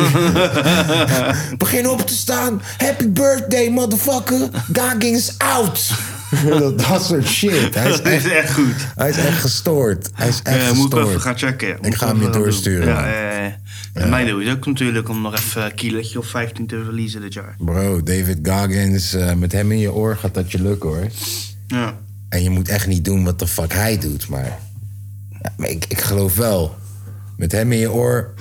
[SPEAKER 1] Begin op te staan. Happy birthday, motherfucker. Gaggins out. dat, dat soort shit. Hij is
[SPEAKER 4] Dat is
[SPEAKER 1] echt,
[SPEAKER 4] echt goed.
[SPEAKER 1] hij is echt gestoord. Hij is echt
[SPEAKER 4] Eh, moet ik
[SPEAKER 1] gestoord.
[SPEAKER 4] even gaan checken. ja. Moet
[SPEAKER 1] ga hem je
[SPEAKER 4] even gaan
[SPEAKER 1] doorsturen,
[SPEAKER 4] doen. Ja,
[SPEAKER 1] man.
[SPEAKER 4] eh, En mij doe het ook natuurlijk om nog even een kilootje of 15 te verliezen dit jaar.
[SPEAKER 1] Bro, David Goggins, eh, met hem in je oor gaat dat je lukken hoor.
[SPEAKER 4] Ja.
[SPEAKER 1] En je moet echt niet doen wat de fuck hij doet, maar... Ja, maar ik, ik geloof wel, met hem in je oor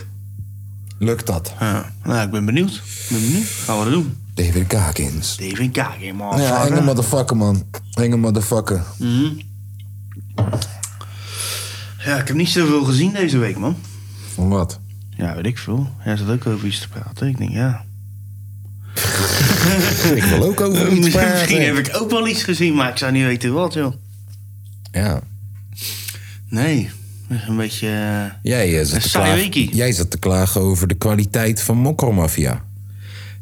[SPEAKER 1] lukt dat.
[SPEAKER 4] ja. Nou, ik ben benieuwd. Ik ben benieuwd. Gaan we dat doen?
[SPEAKER 1] David Goggins.
[SPEAKER 4] Steven Kagen, man.
[SPEAKER 1] Ja, enge
[SPEAKER 4] ja,
[SPEAKER 1] motherfucker, man. Enge motherfucker.
[SPEAKER 4] ik heb niet zoveel gezien deze week, man.
[SPEAKER 1] Van wat?
[SPEAKER 4] Ja, weet ik veel. Hij zat ook over iets te praten. Ik denk, ja.
[SPEAKER 1] Ik wil ook over iets praten.
[SPEAKER 4] Ehm, Misschien heb ik ook wel iets gezien, maar ik zou niet weten wat, joh.
[SPEAKER 1] Ja.
[SPEAKER 4] Nee. Dat is Een beetje... eh,
[SPEAKER 1] Jij, eh,
[SPEAKER 4] Een
[SPEAKER 1] zat te
[SPEAKER 4] saaie
[SPEAKER 1] klagen,
[SPEAKER 4] weekie.
[SPEAKER 1] jij zat te klagen over de kwaliteit van Mokromafia.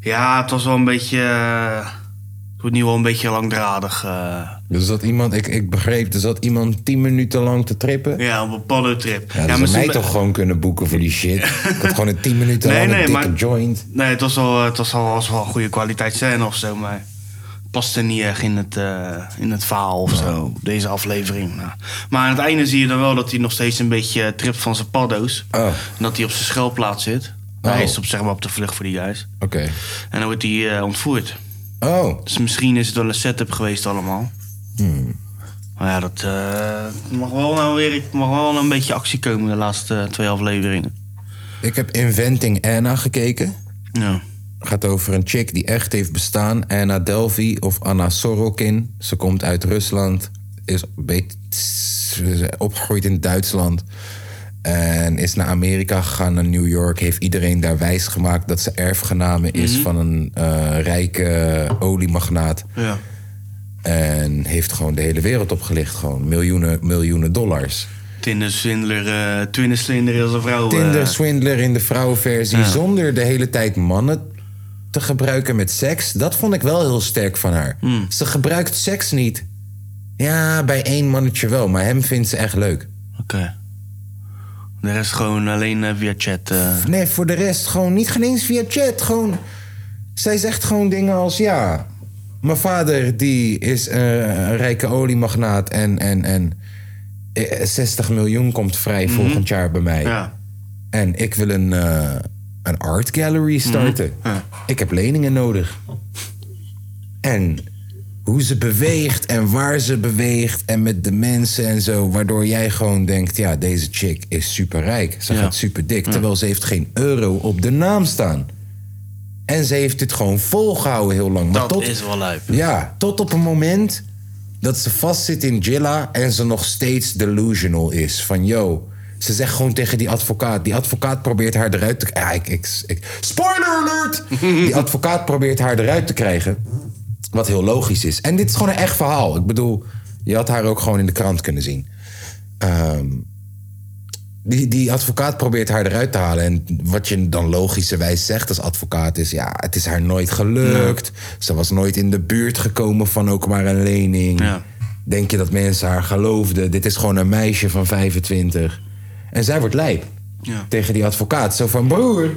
[SPEAKER 4] Ja, het was wel een beetje... eh, Het wordt nu wel een beetje langdradig. eh,
[SPEAKER 1] Er zat iemand, ik, ik begreep, er zat iemand tien minuten lang te trippen. Ja,
[SPEAKER 4] Ja, op een paddeltrip.
[SPEAKER 1] dat
[SPEAKER 4] maar
[SPEAKER 1] zou mij
[SPEAKER 4] ze-
[SPEAKER 1] toch gewoon kunnen boeken voor die shit. ik had gewoon een tien minuten
[SPEAKER 4] Nee,
[SPEAKER 1] lang
[SPEAKER 4] nee,
[SPEAKER 1] een dikke
[SPEAKER 4] maar-
[SPEAKER 1] joint.
[SPEAKER 4] Nee, het was wel, eh, het was wel, was wel een goede kwaliteit scène of zo, maar het paste niet echt in het, eh, in het verhaal of zo, deze aflevering. Nou. Maar aan het einde zie je dan wel dat hij nog steeds een beetje eh, tript van zijn paddo's.
[SPEAKER 1] Oh.
[SPEAKER 4] En dat hij op zijn schuilplaats zit.
[SPEAKER 1] Oh.
[SPEAKER 4] Hij is op, zeg maar, op de vlucht voor die guys.
[SPEAKER 1] Oké.
[SPEAKER 4] En dan wordt hij eh, ontvoerd.
[SPEAKER 1] Oh,
[SPEAKER 4] Dus misschien is het wel een setup geweest allemaal.
[SPEAKER 1] Hmm.
[SPEAKER 4] Maar ja, dat eh, mag, wel nou weer, het mag wel een beetje actie komen de laatste eh, twee afleveringen.
[SPEAKER 1] ik heb Inventing Anna gekeken.
[SPEAKER 4] Ja.
[SPEAKER 1] gaat over een chick die echt heeft bestaan. Anna Delvey of Anna Sorokin. Ze komt uit Rusland. Is een beetje opgegroeid in Duitsland. En is naar Amerika gegaan, naar New York. Heeft iedereen daar wijsgemaakt dat ze erfgename is van een eh, rijke oliemagnaat.
[SPEAKER 4] ja.
[SPEAKER 1] En heeft gewoon de hele wereld opgelicht. Gewoon miljoenen, miljoenen dollars.
[SPEAKER 4] Tinderswindler, eh Twinderslinder als een vrouw. eh,
[SPEAKER 1] Tinder swindler in de vrouwenversie. Zonder de hele tijd mannen te gebruiken met seks. Dat vond ik wel heel sterk van haar.
[SPEAKER 4] Hmm.
[SPEAKER 1] Ze gebruikt seks niet. Ja, bij één mannetje wel. Maar hem vindt ze echt leuk.
[SPEAKER 4] Oké. De rest gewoon alleen eh, via chat. eh.
[SPEAKER 1] Nee, voor de rest gewoon niet geen eens via chat. Gewoon, zij zegt gewoon dingen als ja. Mijn vader die is eh, een rijke oliemagnaat en, en, en eh, 60 miljoen komt vrij volgend jaar bij mij.
[SPEAKER 4] Mhm. Ja.
[SPEAKER 1] En ik wil een, eh, een art gallery starten.
[SPEAKER 4] Mhm. Ja.
[SPEAKER 1] Ik heb leningen nodig. En hoe ze beweegt en waar ze beweegt en met de mensen en zo. Waardoor jij gewoon denkt, ja, deze chick is superrijk. Ze
[SPEAKER 4] Ja.
[SPEAKER 1] gaat super dik. Terwijl ze heeft geen euro op de naam staan. En ze heeft dit gewoon volgehouden heel lang. Maar
[SPEAKER 4] Dat
[SPEAKER 1] tot,
[SPEAKER 4] is wel lijp.
[SPEAKER 1] ja, tot op een moment dat ze vastzit in Jilla en ze nog steeds delusional is. Van yo. Ze zegt gewoon tegen die advocaat. Die advocaat probeert haar eruit te krijgen. ik, ik, ik- spoiler alert! Die advocaat probeert haar eruit te krijgen. Wat heel logisch is. En dit is gewoon een echt verhaal. Ik bedoel, je had haar ook gewoon in de krant kunnen zien. Ehm, die, die advocaat probeert haar eruit te halen. En wat je dan logischerwijs zegt als advocaat is... ja, het is haar nooit gelukt. Ze was nooit in de buurt gekomen van ook maar een lening.
[SPEAKER 4] Ja.
[SPEAKER 1] Denk je dat mensen haar geloofden? Dit is gewoon een meisje van 25. En zij wordt lijp
[SPEAKER 4] Ja.
[SPEAKER 1] tegen die advocaat. Zo van, broer,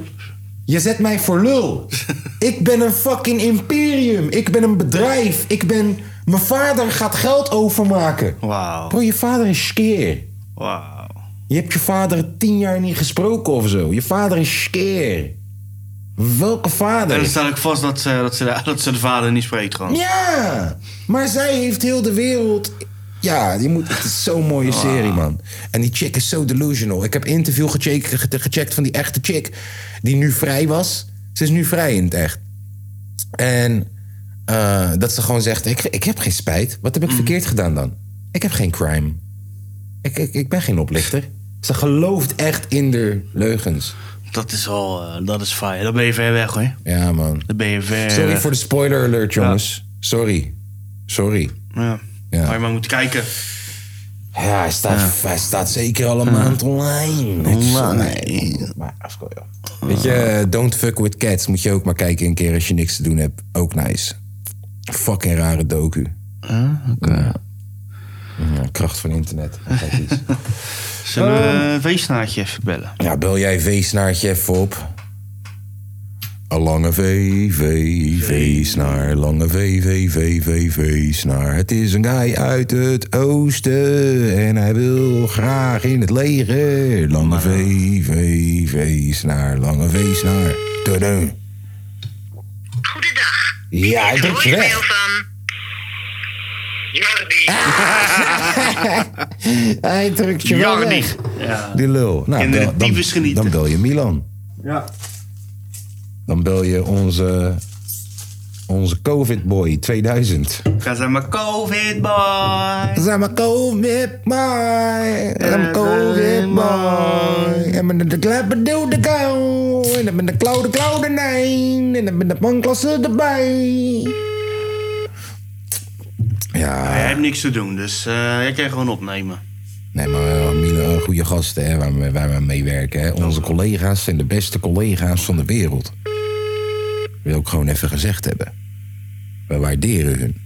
[SPEAKER 1] je zet mij voor lul. Ik ben een fucking imperium. Ik ben een bedrijf. Ik ben...
[SPEAKER 4] Oh.
[SPEAKER 1] Mijn vader gaat geld overmaken.
[SPEAKER 4] Wauw.
[SPEAKER 1] Bro, je vader is skeer.
[SPEAKER 4] Wauw.
[SPEAKER 1] Je hebt je vader tien jaar niet gesproken of zo. Je vader is skeer. Welke
[SPEAKER 4] En dan
[SPEAKER 1] vader?
[SPEAKER 4] stel ik vast dat ze, dat, ze de, dat ze de vader niet spreekt gewoon.
[SPEAKER 1] Ja, maar zij heeft heel de wereld. Ja, die moet, het is zo'n mooie serie, man. En die chick is zo delusional. Ik heb interview gecheckt, ge- gecheckt van die echte chick. Die nu vrij was. Ze is nu vrij in het echt. En eh, dat ze gewoon zegt: ik, ik heb geen spijt. Wat heb ik verkeerd gedaan dan? Ik heb geen crime. Ik, ik, ik ben geen oplichter. Ze gelooft echt in de leugens.
[SPEAKER 4] Dat is al, eh, dat is fijn. Dan ben je ver weg hoor.
[SPEAKER 1] Ja, man.
[SPEAKER 4] Dan ben je ver
[SPEAKER 1] Sorry
[SPEAKER 4] weg.
[SPEAKER 1] voor de spoiler alert, jongens. Sorry. Sorry.
[SPEAKER 4] Ja.
[SPEAKER 1] Ja.
[SPEAKER 4] Waar je maar moet kijken.
[SPEAKER 1] Ja, hij staat, Hij staat zeker al een maand online.
[SPEAKER 4] Online.
[SPEAKER 1] Maar afkoel, joh. Weet je, eh, Don't Fuck With Cats moet je ook maar kijken een keer als je niks te doen hebt. Ook nice. Fucking rare docu. Ja, kracht van internet. Kijk eens.
[SPEAKER 4] Zullen we uh, Weesnaartje even bellen?
[SPEAKER 1] Oh. ja, bel jij V-snaartje even op. Een lange V, V, V-snaar. Lange V, V, V, V, V-snaar. Het is een guy uit het oosten. En hij wil graag in het leger. Lange V, V, V-snaar. Lange V-snaar. Tudum.
[SPEAKER 5] Goedendag.
[SPEAKER 1] Ja, hij drukt
[SPEAKER 5] Hoor
[SPEAKER 1] je
[SPEAKER 5] je
[SPEAKER 1] weg.
[SPEAKER 5] mail van Jordi.
[SPEAKER 1] Hij drukt je wel
[SPEAKER 4] Jarnie.
[SPEAKER 1] weg.
[SPEAKER 4] Ja.
[SPEAKER 1] Die lul. Nou,
[SPEAKER 4] Kinderen
[SPEAKER 1] bel- dan,
[SPEAKER 4] tyfus genieten.
[SPEAKER 1] dan bel je Milan.
[SPEAKER 4] ja.
[SPEAKER 1] Dan bel je onze, onze COVID-boy 2000.
[SPEAKER 4] Ga ze maar COVID boy.
[SPEAKER 1] Zijn mijn COVID boy. Zijn mijn COVID
[SPEAKER 4] COVID
[SPEAKER 1] boy. En met de klappen doe de kou. En dan ben de klauwen klauwen nein. En dan ben de bankklassen erbij.
[SPEAKER 4] Jij
[SPEAKER 1] Ja,
[SPEAKER 4] hebt niks te doen, dus eh jij kan gewoon opnemen.
[SPEAKER 1] nee, maar eh, Miele, eh, goede gasten hè, waar, we, waar we mee werken. Hè. Onze collega's zijn de beste collega's van de wereld. Wil ik gewoon even gezegd hebben. We waarderen hun.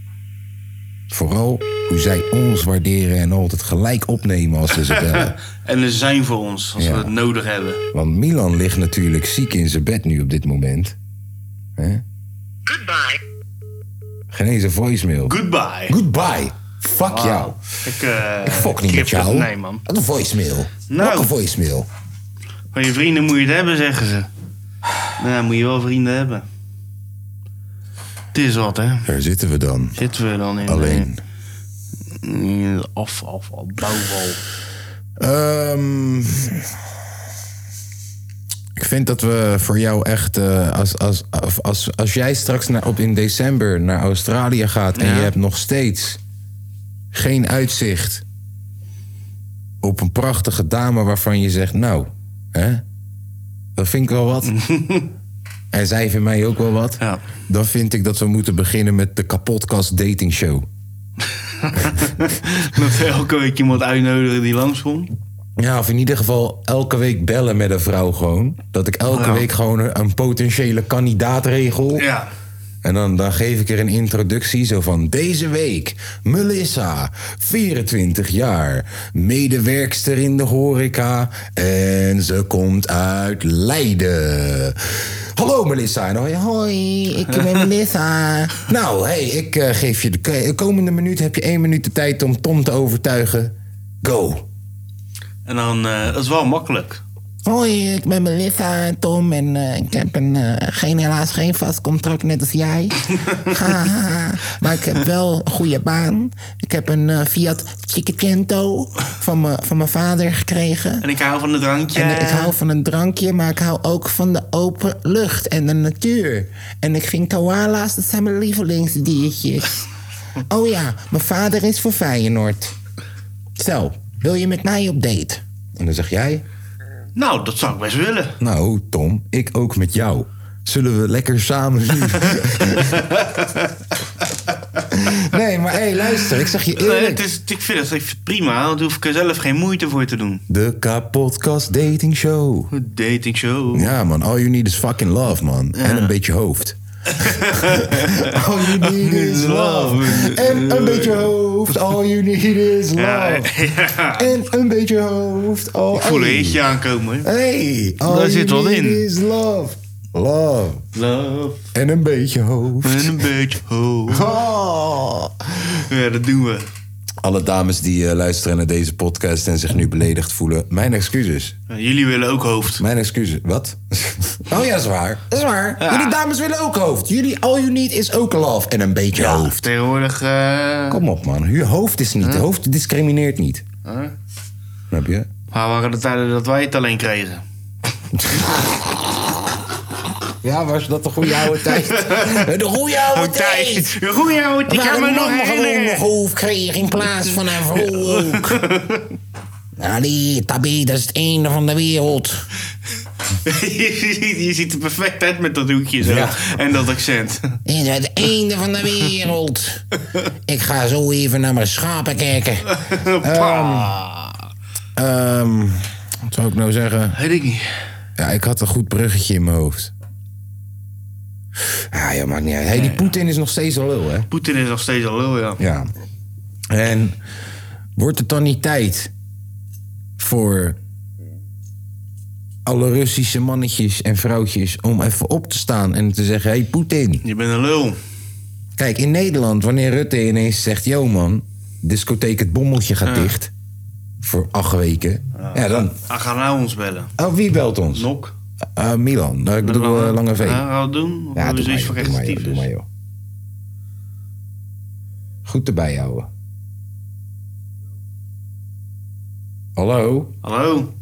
[SPEAKER 1] Vooral hoe zij ons waarderen en altijd gelijk opnemen als we ze bellen.
[SPEAKER 4] En er zijn voor ons, als
[SPEAKER 1] Ja.
[SPEAKER 4] we het nodig hebben.
[SPEAKER 1] Want Milan ligt natuurlijk ziek in zijn bed nu op dit moment. Hè?
[SPEAKER 5] Goodbye.
[SPEAKER 1] Geen eens een voicemail.
[SPEAKER 4] Goodbye.
[SPEAKER 1] Goodbye. Fuck jou.
[SPEAKER 4] Ik, eh,
[SPEAKER 1] Ik fuck niet
[SPEAKER 4] knip
[SPEAKER 1] met jou.
[SPEAKER 4] het. Ah. Nee, man.
[SPEAKER 1] Wat een voicemail.
[SPEAKER 4] Nou.
[SPEAKER 1] Wat een voicemail.
[SPEAKER 4] Van je vrienden moet je het hebben, zeggen ze. Nou, moet je wel vrienden hebben. Het is wat, hè.
[SPEAKER 1] Daar zitten we dan.
[SPEAKER 4] Zitten we dan in... eh,
[SPEAKER 1] Alleen.
[SPEAKER 4] in- Af, af, af, bouwval.
[SPEAKER 1] Ehm, ik vind dat we voor jou echt... eh, als, als, als, als, als jij straks naar, op in december naar Australië gaat... en
[SPEAKER 4] Ja.
[SPEAKER 1] je hebt nog steeds geen uitzicht... op een prachtige dame waarvan je zegt... nou, hè, dat vind ik wel wat. en zij vindt mij ook wel wat.
[SPEAKER 4] Ja.
[SPEAKER 1] Dan vind ik dat we moeten beginnen met de kapotkast dating show.
[SPEAKER 4] Dat we elke week iemand uitnodigen die langskomt.
[SPEAKER 1] Ja, of in ieder geval elke week bellen met een vrouw gewoon. Dat ik elke
[SPEAKER 4] Ja.
[SPEAKER 1] week gewoon een, een potentiële kandidaat regel.
[SPEAKER 4] Ja.
[SPEAKER 1] En dan, dan geef ik er een introductie zo van... Deze week, Melissa, 24 jaar, medewerkster in de horeca... en ze komt uit Leiden. Hallo Melissa. En dan hoor je, hoi, ik ben Melissa. nou, hey, ik eh, geef je de, de komende minuut... heb je één minuut de tijd om Tom te overtuigen. Go.
[SPEAKER 4] En dan, eh, dat is wel makkelijk.
[SPEAKER 6] Hoi, ik ben Melissa en Tom en eh, ik heb een, eh, geen, helaas geen vast contract net als jij. Haha. maar ik heb wel een goede baan. Ik heb een eh, Fiat Cinquecento van, me, van mijn vader gekregen.
[SPEAKER 4] En ik hou van het drankje.
[SPEAKER 6] En ik hou van een drankje, maar ik hou ook van de open lucht en de natuur. En ik vind koala's, dat zijn mijn lievelingsdiertjes. Oh ja, mijn vader is voor Feyenoord. Zo, wil je met mij op date?
[SPEAKER 1] En dan zeg jij...
[SPEAKER 4] Nou, dat zou ik best willen.
[SPEAKER 1] Nou, Tom, ik ook met jou. Zullen we lekker samen zien? nee, maar hé, luister, ik zeg je
[SPEAKER 4] Nee,
[SPEAKER 1] eerlijk.
[SPEAKER 4] het is, ik vind het echt prima, want daar hoef ik er zelf geen moeite voor te doen.
[SPEAKER 1] De kapotkast dating show.
[SPEAKER 4] Een Dating show.
[SPEAKER 1] Ja, man, all you need is fucking love, man. En een beetje hoofd. all you need is love. En een beetje hoofd. All you need is love.
[SPEAKER 4] Oh.
[SPEAKER 1] En een beetje hoofd. All
[SPEAKER 4] Ik voel een hitje aankomen. hoor.
[SPEAKER 1] Hey, all
[SPEAKER 4] Daar
[SPEAKER 1] you
[SPEAKER 4] zit wat
[SPEAKER 1] need
[SPEAKER 4] in.
[SPEAKER 1] is love. Love.
[SPEAKER 4] Love
[SPEAKER 1] En een beetje hoofd.
[SPEAKER 4] en een beetje ho.
[SPEAKER 1] Oh.
[SPEAKER 4] Ja, dat doen we.
[SPEAKER 1] Alle dames die eh, luisteren naar deze podcast en zich nu beledigd voelen, mijn excuses.
[SPEAKER 4] Ja, jullie willen ook hoofd.
[SPEAKER 1] Mijn excuses. Wat? Oh ja, zwaar. Zwaar. Jullie dames willen ook hoofd. Jullie all you need is ook love en een beetje hoofd.
[SPEAKER 4] Tegenwoordig... eh,
[SPEAKER 1] Kom op, man. Je hoofd is niet. Hoofd discrimineert niet. Snap je?
[SPEAKER 4] Waar waren de tijden dat wij het alleen kregen?
[SPEAKER 1] Ja, was dat de goede oude tijd? De goede oude tijd!
[SPEAKER 4] Een goeie oude, ik kan
[SPEAKER 6] Waarom
[SPEAKER 4] me nog
[SPEAKER 6] mannen gewoon nog
[SPEAKER 4] herinneren.
[SPEAKER 6] hoofd kreeg in plaats van een vrouw ook. Allee, tabé, dat is het einde van de wereld.
[SPEAKER 4] je, ziet, je ziet er perfect uit met dat hoekje zo.
[SPEAKER 1] Ja.
[SPEAKER 4] En dat accent.
[SPEAKER 6] Dit is het einde van de wereld. Ik ga zo even naar mijn schapen kijken.
[SPEAKER 4] Pa.
[SPEAKER 1] Ehm, wat zou ik nou zeggen?
[SPEAKER 4] Weet ik niet.
[SPEAKER 1] Ja, ik had een goed bruggetje in mijn hoofd. Ah, ja, maakt niet uit. Hey, die Poetin is nog steeds een lul, hè?
[SPEAKER 4] Poetin is nog steeds al lul, ja.
[SPEAKER 1] Ja. En wordt het dan niet tijd voor alle Russische mannetjes en vrouwtjes om even op te staan en te zeggen: Hey Poetin.
[SPEAKER 4] Je bent een lul.
[SPEAKER 1] Kijk, in Nederland, wanneer Rutte ineens zegt: Yo man, discotheek Het Bommeltje gaat dicht. Voor acht weken. Ja, dan.
[SPEAKER 4] Hij gaat nou ons bellen.
[SPEAKER 1] Oh, wie belt ons?
[SPEAKER 4] Nok.
[SPEAKER 1] Eh, Milan. Nou, ik bedoel, eh, Lange V.
[SPEAKER 4] Ja, dus. gaan we dat doen? Of
[SPEAKER 1] Ja,
[SPEAKER 4] hebben we
[SPEAKER 1] doe maar,
[SPEAKER 4] zoiets van
[SPEAKER 1] joh, doe maar, joh, doe maar,
[SPEAKER 4] rechtsatief?
[SPEAKER 1] joh. Goed erbij houden. Hallo?
[SPEAKER 4] Hallo?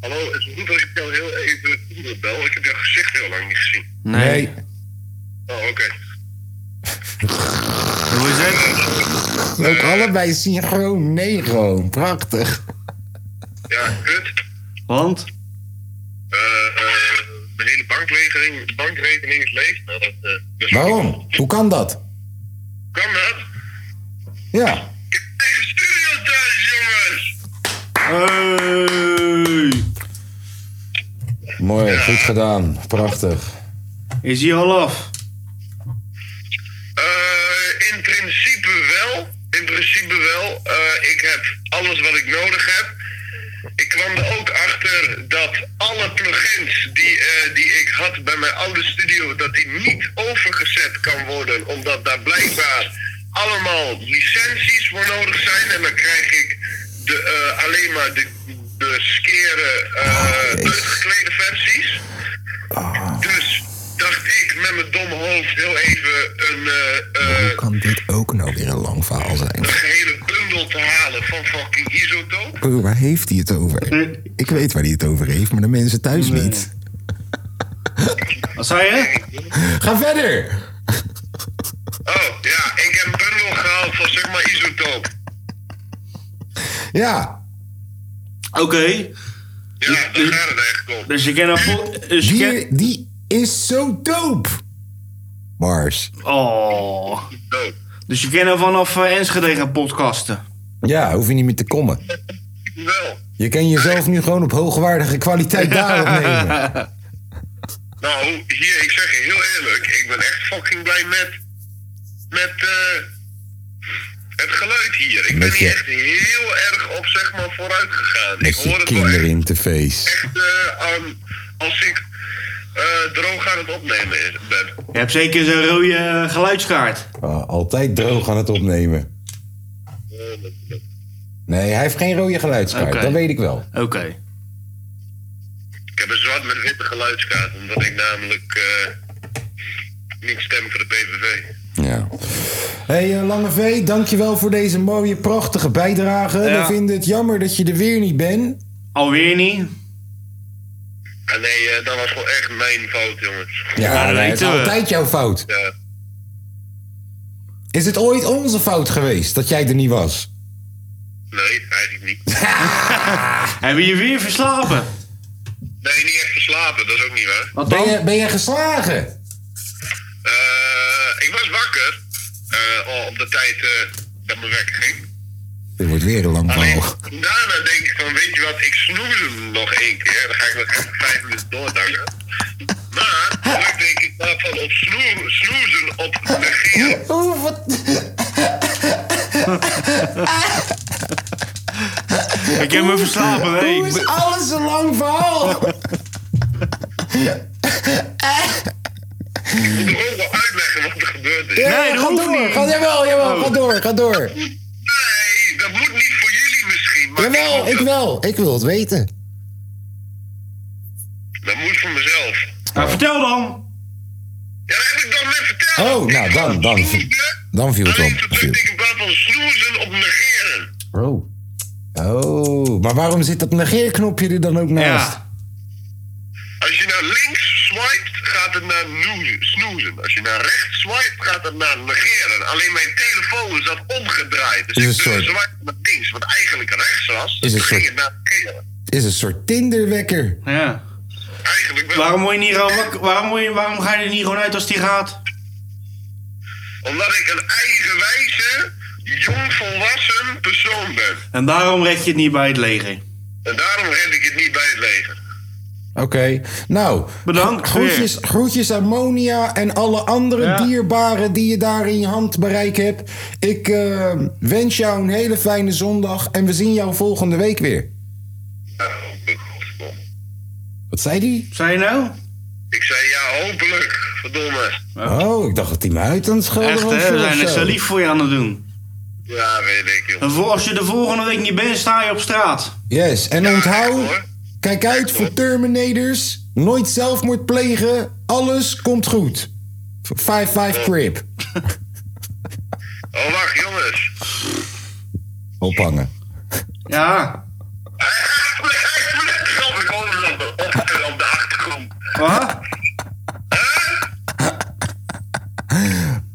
[SPEAKER 7] Hallo, het is goed dat ik jou heel even bel. Ik heb jouw gezicht heel lang niet gezien.
[SPEAKER 4] Nee.
[SPEAKER 7] Oh, oké.
[SPEAKER 4] Hoe is het?
[SPEAKER 1] Ook allebei synchroon. Nee, gewoon. Prachtig.
[SPEAKER 7] Ja, kut.
[SPEAKER 4] Want?
[SPEAKER 7] Eh, eh, de hele bankrekening, de bankrekening is leeg. Nou, dat, eh, dat is-
[SPEAKER 1] Waarom? Hoe kan dat?
[SPEAKER 7] Kan dat?
[SPEAKER 1] Ja.
[SPEAKER 7] Ik heb een eigen studio thuis, jongens!
[SPEAKER 4] Hey.
[SPEAKER 1] Mooi, goed gedaan. Prachtig.
[SPEAKER 4] Is hij al af?
[SPEAKER 7] Eh, in principe wel. In principe wel. Eh, ik heb alles wat ik nodig heb. Ik kwam er ook achter dat alle plugins die, eh, die ik had bij mijn oude studio, dat die niet overgezet kan worden. Omdat daar blijkbaar allemaal licenties voor nodig zijn. En dan krijg ik de, eh, alleen maar de, de skere eh uitgeklede versies. Dus dacht ik met mijn domme hoofd heel even een, eh, eh,
[SPEAKER 1] Kan dit ook nou weer een lang verhaal zijn?
[SPEAKER 7] een gehele bundel te halen van fucking isotoop.
[SPEAKER 1] Broer, waar heeft hij het over? Ik weet waar hij het over heeft, maar de mensen thuis niet.
[SPEAKER 4] Wat zei je?
[SPEAKER 1] Ga verder!
[SPEAKER 7] Oh ja, ik heb een bundel gehaald van zeg maar isotoop.
[SPEAKER 1] Ja.
[SPEAKER 4] Oké.
[SPEAKER 7] Ja, daar gaat het eigenlijk om.
[SPEAKER 4] Dus je kent een vol... Dus je kent-
[SPEAKER 1] Die, die is zo dope. Mars.
[SPEAKER 4] Oh.
[SPEAKER 7] Dood.
[SPEAKER 4] Dus je kent er vanaf eh, Enschede gaan podcasten.
[SPEAKER 1] Ja, hoef je niet meer te komen.
[SPEAKER 7] Wel.
[SPEAKER 1] Je kan jezelf nu gewoon op hoogwaardige kwaliteit daar opnemen.
[SPEAKER 7] Nou, hier, ik zeg je heel eerlijk, ik ben echt fucking blij met, met eh, het geluid hier. Ik ben
[SPEAKER 1] Met je-
[SPEAKER 7] hier echt heel erg op zeg maar vooruit gegaan. Ik
[SPEAKER 1] Met
[SPEAKER 7] hoor
[SPEAKER 1] je
[SPEAKER 7] het wel echt
[SPEAKER 1] kinderinterface.
[SPEAKER 7] echt eh, aan- als ik eh, droog aan het opnemen is- ben.
[SPEAKER 4] Je hebt zeker zo'n rode eh, geluidskaart.
[SPEAKER 1] Ah, altijd droog aan het opnemen. Nee, hij heeft geen rode geluidskaart.
[SPEAKER 4] Oké.
[SPEAKER 1] Dat weet ik wel.
[SPEAKER 4] Oké.
[SPEAKER 7] Ik heb een zwart met witte geluidskaart, omdat ik namelijk eh, niet stem voor de PVV.
[SPEAKER 1] Ja. hey, eh, Lange V, dankjewel voor deze mooie, prachtige bijdrage.
[SPEAKER 4] Ja.
[SPEAKER 1] We vinden het jammer dat je er weer niet bent.
[SPEAKER 4] Alweer niet?
[SPEAKER 7] Ah nee, eh, dat was gewoon echt mijn fout, jongens.
[SPEAKER 4] Ja, dat
[SPEAKER 1] nee, het is
[SPEAKER 4] weten we.
[SPEAKER 1] altijd jouw fout.
[SPEAKER 7] Ja.
[SPEAKER 1] Is het ooit onze fout geweest dat jij er niet was?
[SPEAKER 7] Nee, eigenlijk niet.
[SPEAKER 4] Hebben je weer verslapen?
[SPEAKER 7] Nee, niet echt geslapen, dat is ook niet waar.
[SPEAKER 4] Wat
[SPEAKER 1] Ben
[SPEAKER 4] dan?
[SPEAKER 1] je, ben je geslagen?
[SPEAKER 7] Eh, ik was wakker eh, al op de tijd eh, dat mijn wekker ging.
[SPEAKER 1] Dit wordt weer een lang
[SPEAKER 7] Alleen
[SPEAKER 1] verhaal.
[SPEAKER 7] daarna denk ik van, weet je wat, ik snoes hem nog één keer. Dan ga ik nog even vijf minuten doordanken. Maar, toen denk ik daarvan op snoe- snoezen op reageren.
[SPEAKER 1] Oeh, wat...
[SPEAKER 4] Ik heb me verslapen, hè? Ik
[SPEAKER 1] Hoe is
[SPEAKER 4] ben-
[SPEAKER 1] alles een lang verhaal?
[SPEAKER 7] Ik moet er ook wel uitleggen wat er gebeurd is.
[SPEAKER 1] Ja,
[SPEAKER 4] Nee, dat
[SPEAKER 1] ga
[SPEAKER 4] hoeft
[SPEAKER 1] door.
[SPEAKER 4] niet.
[SPEAKER 1] Ga, jawel, jawel, ga door, ga door.
[SPEAKER 7] Nee, Maar
[SPEAKER 1] Jawel, ik wel. Ik wil het weten.
[SPEAKER 7] Dat moet voor mezelf.
[SPEAKER 4] Nou, vertel dan.
[SPEAKER 7] Ja, dat heb ik dan net verteld.
[SPEAKER 1] Oh, nou,
[SPEAKER 7] Ik
[SPEAKER 1] dan-
[SPEAKER 7] ga
[SPEAKER 1] dan-
[SPEAKER 7] snoezen,
[SPEAKER 1] dan viel het
[SPEAKER 7] alleen
[SPEAKER 1] op.
[SPEAKER 7] toen dacht Ik in plaats van snoezen op negeren.
[SPEAKER 1] Oh. Oh, maar waarom zit dat negeerknopje er dan ook naast?
[SPEAKER 4] Ja.
[SPEAKER 7] Als je naar links swipet, gaat het naar noezen- snoezen. Als je naar rechts swipet, gaat het naar negeren. Alleen mijn telefoon zat omgedraaid. Dus
[SPEAKER 1] Is
[SPEAKER 7] ik
[SPEAKER 1] een soort-
[SPEAKER 7] swipe naar links, wat eigenlijk rechts was.
[SPEAKER 1] Is een
[SPEAKER 7] toen ging
[SPEAKER 1] soort-
[SPEAKER 7] het naar negeren.
[SPEAKER 1] Het is een soort Tinderwekker.
[SPEAKER 4] Ja.
[SPEAKER 7] Eigenlijk wel.
[SPEAKER 4] Waarom, word je niet gewoon wakker- waarom, word je- waarom ga je er niet gewoon uit als die gaat?
[SPEAKER 7] Omdat ik een eigenwijze, jongvolwassen persoon ben.
[SPEAKER 4] En daarom red je het niet bij het leger.
[SPEAKER 7] En daarom red ik het niet bij het leger.
[SPEAKER 1] Oké, nou.
[SPEAKER 4] Bedankt
[SPEAKER 1] Groetjes, groetjes aan Monia en alle andere
[SPEAKER 4] Ja.
[SPEAKER 1] dierbaren die je daar in je handbereik hebt. Ik eh, wens jou een hele fijne zondag en we zien jou volgende week weer.
[SPEAKER 7] Nou, godverdomme.
[SPEAKER 1] Wat zei die?
[SPEAKER 4] Zijn je nou?
[SPEAKER 7] Ik zei ja, hopelijk. Verdomme.
[SPEAKER 1] Oh, ik dacht dat hij me uit aan het schelden
[SPEAKER 4] Echt
[SPEAKER 1] was.
[SPEAKER 4] hè, we
[SPEAKER 1] of
[SPEAKER 4] zijn echt
[SPEAKER 1] zo.
[SPEAKER 4] zo lief voor je aan het doen.
[SPEAKER 7] Ja, weet ik, joh.
[SPEAKER 4] En voor, als je de volgende week niet bent, sta je op straat.
[SPEAKER 1] Yes, en
[SPEAKER 7] Ja,
[SPEAKER 1] onthoud,
[SPEAKER 7] hoor.
[SPEAKER 1] kijk uit voor Terminators. Nooit zelfmoord plegen. Alles komt goed. 5-5 Crip.
[SPEAKER 7] Oh, wacht, jongens.
[SPEAKER 1] Ophangen.
[SPEAKER 4] Ja.
[SPEAKER 7] Ik hoor hem op de- op- op de achtergrond.
[SPEAKER 4] Wat?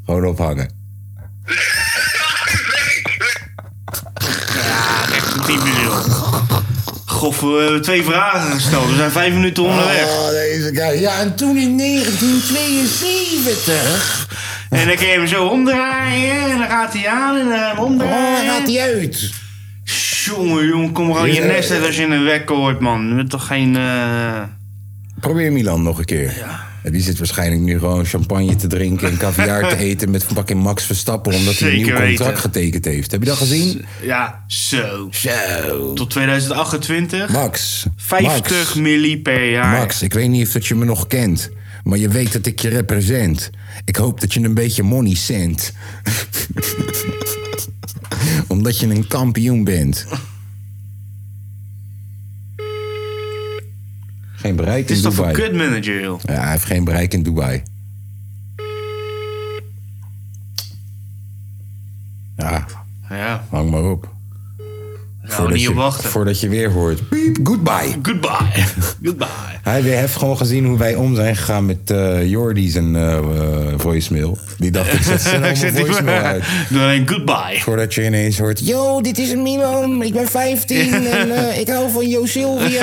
[SPEAKER 1] Gewoon ophangen.
[SPEAKER 4] Typisch joh. Gof, we hebben twee vragen gesteld. We zijn vijf minuten onderweg.
[SPEAKER 1] Oh, deze guy. Ja, en toen in 1972.
[SPEAKER 4] En dan kun je hem zo omdraaien. En dan gaat hij aan en dan
[SPEAKER 1] Oh, daar
[SPEAKER 4] omdraaien.
[SPEAKER 1] gaat hij uit.
[SPEAKER 4] Jongen, jongen, kom gewoon je
[SPEAKER 1] Ja.
[SPEAKER 4] nest uit als je een wekker hoort, man. Je bent toch geen... eh,
[SPEAKER 1] Probeer Milan nog een keer. En Die zit waarschijnlijk nu gewoon champagne te drinken en caviar te eten met fucking Max Verstappen. Omdat hij een
[SPEAKER 4] Zeker
[SPEAKER 1] nieuw contract
[SPEAKER 4] weten.
[SPEAKER 1] getekend heeft. Heb je dat gezien?
[SPEAKER 4] Ja, zo.
[SPEAKER 1] Zo.
[SPEAKER 4] Tot 2028.
[SPEAKER 1] Max.
[SPEAKER 4] 50
[SPEAKER 1] Max.
[SPEAKER 4] milli per jaar.
[SPEAKER 1] Max, ik weet niet of dat je me nog kent. Maar je weet dat ik je represent. Ik hoop dat je een beetje money cent. Omdat je een kampioen bent. Geen bereik
[SPEAKER 4] Het
[SPEAKER 1] in
[SPEAKER 4] is toch voor
[SPEAKER 1] Dubai.
[SPEAKER 4] kutmanager, joh.
[SPEAKER 1] Ja, hij heeft geen bereik in Dubai. Ja,
[SPEAKER 4] Ja,
[SPEAKER 1] hang maar op.
[SPEAKER 4] nou, niet
[SPEAKER 1] je,
[SPEAKER 4] op wachten.
[SPEAKER 1] voordat je weer hoort. Piep, goodbye.
[SPEAKER 4] Goodbye. Goodbye.
[SPEAKER 1] Hij heeft gewoon gezien hoe wij om zijn gegaan met eh Jordi zijn eh, eh, voicemail. Die dacht, ik zet zijn allemaal voicemail uit.
[SPEAKER 4] Doe alleen goodbye.
[SPEAKER 1] Voordat je ineens hoort... Yo, dit is Milan, ik ben 15 en eh, ik hou van Jo Silvio.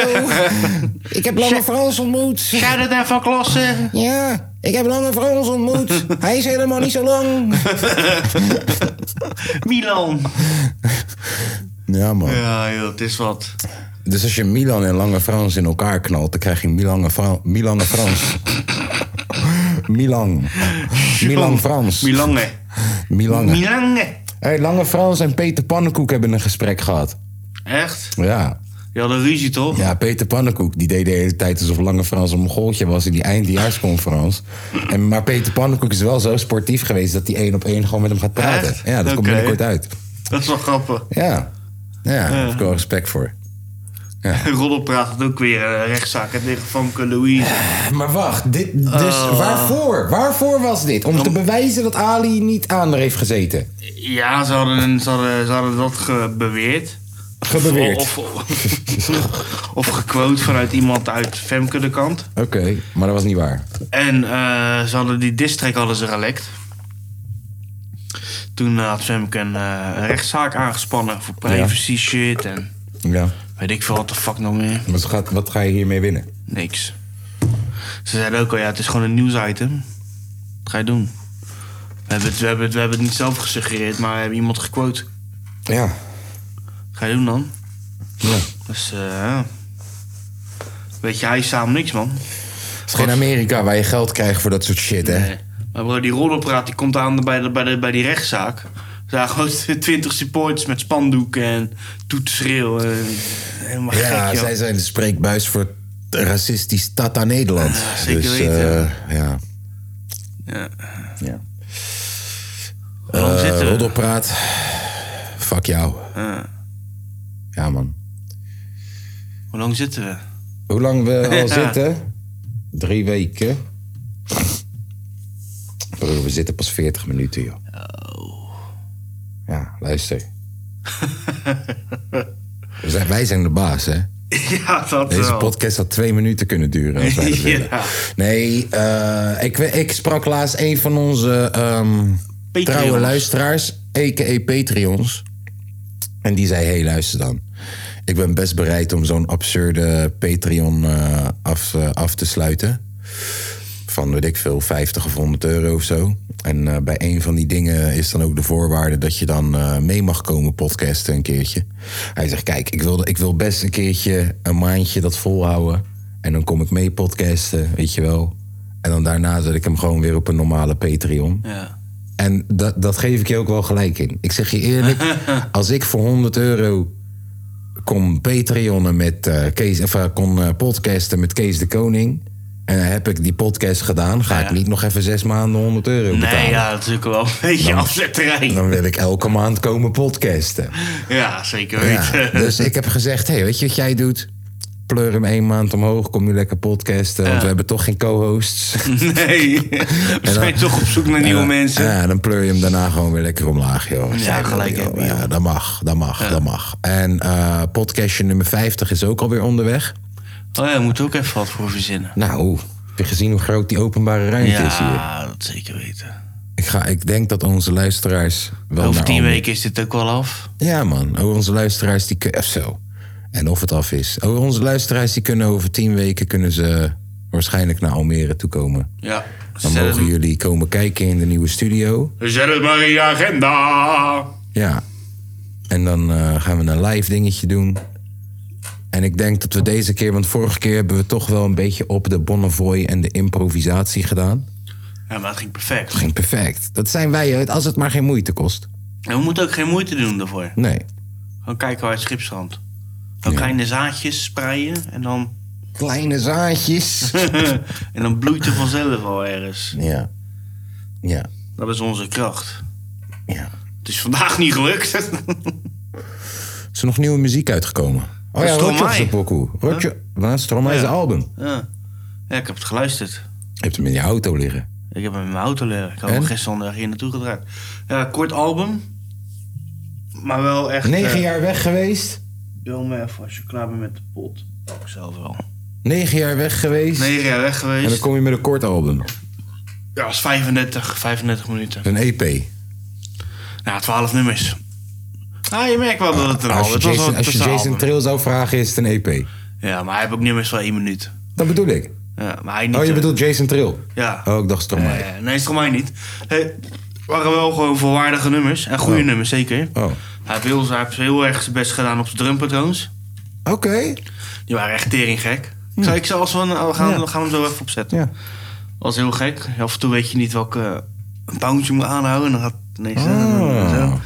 [SPEAKER 1] ik heb Lange Frans ontmoet.
[SPEAKER 4] Ga dat nou even klassen.
[SPEAKER 1] Ja, ik heb Lange Frans ontmoet. Hij is helemaal niet zo lang.
[SPEAKER 4] Milan.
[SPEAKER 1] Ja man.
[SPEAKER 4] Ja, joh, het is wat.
[SPEAKER 1] Dus als je Milan en Lange Frans in elkaar knalt, dan krijg je Milan en, Fra- Milan en Frans. Milan. Milan Frans.
[SPEAKER 4] Milange.
[SPEAKER 1] Milan.
[SPEAKER 4] Milange.
[SPEAKER 1] Hey, Lange Frans en Peter Pannenkoek hebben een gesprek gehad.
[SPEAKER 4] Echt?
[SPEAKER 1] Ja.
[SPEAKER 4] Je had een ruzie, toch?
[SPEAKER 1] Ja, Peter Pannenkoek die deed de hele tijd alsof Lange Frans een goaltje was in die eindjaarsconferentie. En, maar Peter Pannenkoek is wel zo sportief geweest dat hij één op één gewoon met hem gaat praten.
[SPEAKER 4] Echt?
[SPEAKER 1] Ja, dat komt
[SPEAKER 4] Oké.
[SPEAKER 1] binnenkort uit.
[SPEAKER 4] Dat is wel grappig.
[SPEAKER 1] Ja. Ja, daar heb ik wel respect voor.
[SPEAKER 4] Roddel praat het ook weer eh, rechtszaak en tegen Famke Louise.
[SPEAKER 1] Eh, Maar wacht, dit, dus
[SPEAKER 4] Oh.
[SPEAKER 1] waarvoor? Waarvoor was dit? Om te bewijzen dat Ali niet aan er heeft gezeten.
[SPEAKER 4] Eh, Ja, ze hadden, een- ze hadden, ze hadden dat ge- beweerd.
[SPEAKER 1] Gebeweerd.
[SPEAKER 4] Of, of, of gequote vanuit iemand uit Femke de kant.
[SPEAKER 1] Oké, maar dat was niet waar.
[SPEAKER 4] En eh, ze hadden die district hadden ze gelekt. Toen had Femke een eh, rechtszaak aangespannen voor privacy shit en
[SPEAKER 1] Ja.
[SPEAKER 4] weet ik veel wat de fuck nog meer.
[SPEAKER 1] Wat ga, wat ga je hiermee winnen?
[SPEAKER 4] Niks. Ze zeiden ook al, ja, het is gewoon een nieuwsitem. Wat ga je doen? We hebben, het, we, hebben het, we hebben het niet zelf gesuggereerd, maar we hebben iemand gequote.
[SPEAKER 1] Ja.
[SPEAKER 4] Wat ga je doen dan?
[SPEAKER 1] ja.
[SPEAKER 4] Dus, eh, ja. Weet je, hij is samen niks, man.
[SPEAKER 1] Het is geen Amerika waar je geld krijgt voor dat soort shit, hè?
[SPEAKER 4] Nee. Eh, Maar bro, die roddelpraat die komt aan bij, de, bij, de, bij die rechtszaak. Er zijn gewoon twintig supporters met spandoeken en toetschreeuwen. en Helemaal
[SPEAKER 1] Ja,
[SPEAKER 4] gek, joh.
[SPEAKER 1] zij zijn de spreekbuis voor racistisch Tata Nederland.
[SPEAKER 4] Ah, zeker
[SPEAKER 1] dus,
[SPEAKER 4] weten.
[SPEAKER 1] eh, ja.
[SPEAKER 4] Ja.
[SPEAKER 1] ja.
[SPEAKER 4] Waarom
[SPEAKER 1] Eh,
[SPEAKER 4] zitten we? Ah.
[SPEAKER 1] roddelpraat. Fuck jou.
[SPEAKER 4] Ja.
[SPEAKER 1] Ja, man.
[SPEAKER 4] Hoe lang zitten we?
[SPEAKER 1] Hoe lang we al
[SPEAKER 4] Ja.
[SPEAKER 1] zitten? Drie weken. Broer, we zitten pas 40 minuten, joh.
[SPEAKER 4] Oh.
[SPEAKER 1] Ja, luister. We zijn- wij zijn de baas, hè?
[SPEAKER 4] Ja, dat
[SPEAKER 1] Deze
[SPEAKER 4] wel.
[SPEAKER 1] podcast had twee minuten kunnen duren. Als wij dat
[SPEAKER 4] Ja.
[SPEAKER 1] willen. Nee, eh, ik, we- ik sprak laatst een van onze ehm,
[SPEAKER 4] Patreons.
[SPEAKER 1] trouwe luisteraars, a.k.a. Patreons. En die zei, hey, luister dan. Ik ben best bereid om zo'n absurde Patreon eh, af, eh, af te sluiten. Van, weet ik veel, 50 of 100 euro of zo. En eh, bij een van die dingen is dan ook de voorwaarde... dat je dan eh, mee mag komen podcasten een keertje. Hij zegt, kijk, ik wil, ik wil best een keertje een maandje dat volhouden. En dan kom ik mee podcasten, weet je wel. En dan daarna zet ik hem gewoon weer op een normale Patreon.
[SPEAKER 4] Ja.
[SPEAKER 1] En dat, dat geef ik je ook wel gelijk in. Ik zeg je eerlijk, als ik voor 100 euro kon Patreonnen met eh, Kees, of eh, kon eh, podcasten met Kees de Koning. En heb ik die podcast gedaan, ga ik niet nog even zes maanden 100 euro betalen.
[SPEAKER 4] Nee, ja, natuurlijk wel een beetje afzetterij.
[SPEAKER 1] Dan wil ik elke maand komen podcasten.
[SPEAKER 4] Ja, zeker
[SPEAKER 1] Ja,
[SPEAKER 4] weten.
[SPEAKER 1] dus ik heb gezegd, hey, weet je wat jij doet? Pleur hem één maand omhoog, kom je lekker podcasten. Want we hebben toch geen co-hosts.
[SPEAKER 4] Nee, we zijn toch op zoek naar nieuwe
[SPEAKER 1] Ja,
[SPEAKER 4] mensen.
[SPEAKER 1] Ja, dan pleur je hem daarna gewoon weer lekker omlaag, joh.
[SPEAKER 4] Ja, gelijk
[SPEAKER 1] joh.
[SPEAKER 4] heb je,
[SPEAKER 1] Ja, dat mag, dat mag, dat mag. En eh, podcastje nummer 50 is ook alweer onderweg.
[SPEAKER 4] Oh ja, we moeten ook even wat voor verzinnen.
[SPEAKER 1] Nou, heb je gezien hoe groot die openbare ruimte is hier?
[SPEAKER 4] Ja, dat zeker weten.
[SPEAKER 1] Ik, ga, ik denk dat onze luisteraars wel
[SPEAKER 4] Over
[SPEAKER 1] naar
[SPEAKER 4] tien
[SPEAKER 1] andere-
[SPEAKER 4] weken is dit ook wel af.
[SPEAKER 1] Ja, man. Oh, onze luisteraars die kunnen... Zo. En of het af is. Oh, onze luisteraars die kunnen over tien weken... kunnen ze waarschijnlijk naar Almere toe komen.
[SPEAKER 4] Ja,
[SPEAKER 1] Dan mogen jullie komen kijken in de nieuwe studio.
[SPEAKER 2] Zet het maar in je agenda.
[SPEAKER 1] Ja. En dan eh, gaan we een live dingetje doen. En ik denk dat we deze keer... Want vorige keer hebben we toch wel een beetje op de Bonnevoy en de improvisatie gedaan.
[SPEAKER 4] Ja, maar het ging perfect.
[SPEAKER 1] Dat ging perfect. Dat zijn wij, hè, als het maar geen moeite kost.
[SPEAKER 4] En we moeten ook geen moeite doen daarvoor.
[SPEAKER 1] Nee.
[SPEAKER 4] Gewoon kijken waar het schip strandt. Gewoon kleine zaadjes spreiden en dan,
[SPEAKER 1] Kleine zaadjes.
[SPEAKER 4] en dan bloeit er vanzelf al ergens.
[SPEAKER 1] ja. Ja.
[SPEAKER 4] Dat is onze kracht.
[SPEAKER 1] Ja.
[SPEAKER 4] Het is vandaag niet gelukt.
[SPEAKER 1] Is er nog nieuwe muziek uitgekomen? Oh ja,
[SPEAKER 4] Stromae.
[SPEAKER 1] Rotjoch is een pokoe. Rotjoch, huh? Stromae is een album.
[SPEAKER 4] ja. ja, ik heb het geluisterd.
[SPEAKER 1] Je hebt hem in je auto liggen.
[SPEAKER 4] Ik heb hem in mijn auto leren. Ik had
[SPEAKER 1] En?
[SPEAKER 4] hem gisteren onderweg hier naartoe gedraaid. Ja, kort album. Maar wel echt...
[SPEAKER 1] Negen
[SPEAKER 4] eh,
[SPEAKER 1] jaar weg geweest.
[SPEAKER 4] Wil me even als je klaar bent met de pot. Ook zelf wel.
[SPEAKER 1] Negen jaar weg geweest.
[SPEAKER 4] Negen jaar weg
[SPEAKER 1] En dan
[SPEAKER 4] geweest.
[SPEAKER 1] kom je met een kort album.
[SPEAKER 4] Ja, dat is 35, 35 minuten.
[SPEAKER 1] Een E EP.
[SPEAKER 4] Ja, 12 nummers. Ah, je merkt wel dat het een
[SPEAKER 1] Als
[SPEAKER 4] album
[SPEAKER 1] je
[SPEAKER 4] het was. wel
[SPEAKER 1] Jason,
[SPEAKER 4] een
[SPEAKER 1] als je Jason
[SPEAKER 4] tussenalbum.
[SPEAKER 1] Trill zou vragen, is het een EP.
[SPEAKER 4] Ja, maar hij heeft ook nummers van 1 minuut.
[SPEAKER 1] Dat bedoel ik.
[SPEAKER 4] Ja, maar hij niet...
[SPEAKER 1] Oh, je
[SPEAKER 4] eh,
[SPEAKER 1] bedoelt Jason Trill?
[SPEAKER 4] Ja.
[SPEAKER 1] Oh, ik dacht Stromae.
[SPEAKER 4] Eh, nee, is toch mij niet. Hey, het waren wel gewoon volwaardige nummers. En goede nummers, zeker.
[SPEAKER 1] Oh.
[SPEAKER 4] Hij, heeft heel, hij heeft heel erg zijn best gedaan op zijn drumpatroons.
[SPEAKER 1] Eh, Oké.
[SPEAKER 4] Die waren echt teringgek. Ik zei, ik zal als we, we, gaan, we gaan hem zo even opzetten.
[SPEAKER 1] Ja.
[SPEAKER 4] was heel gek. Af en toe weet je niet welke eh, een poundje moet aanhouden. En dan gaat het ineens... eh,
[SPEAKER 1] Ah.
[SPEAKER 4] zo.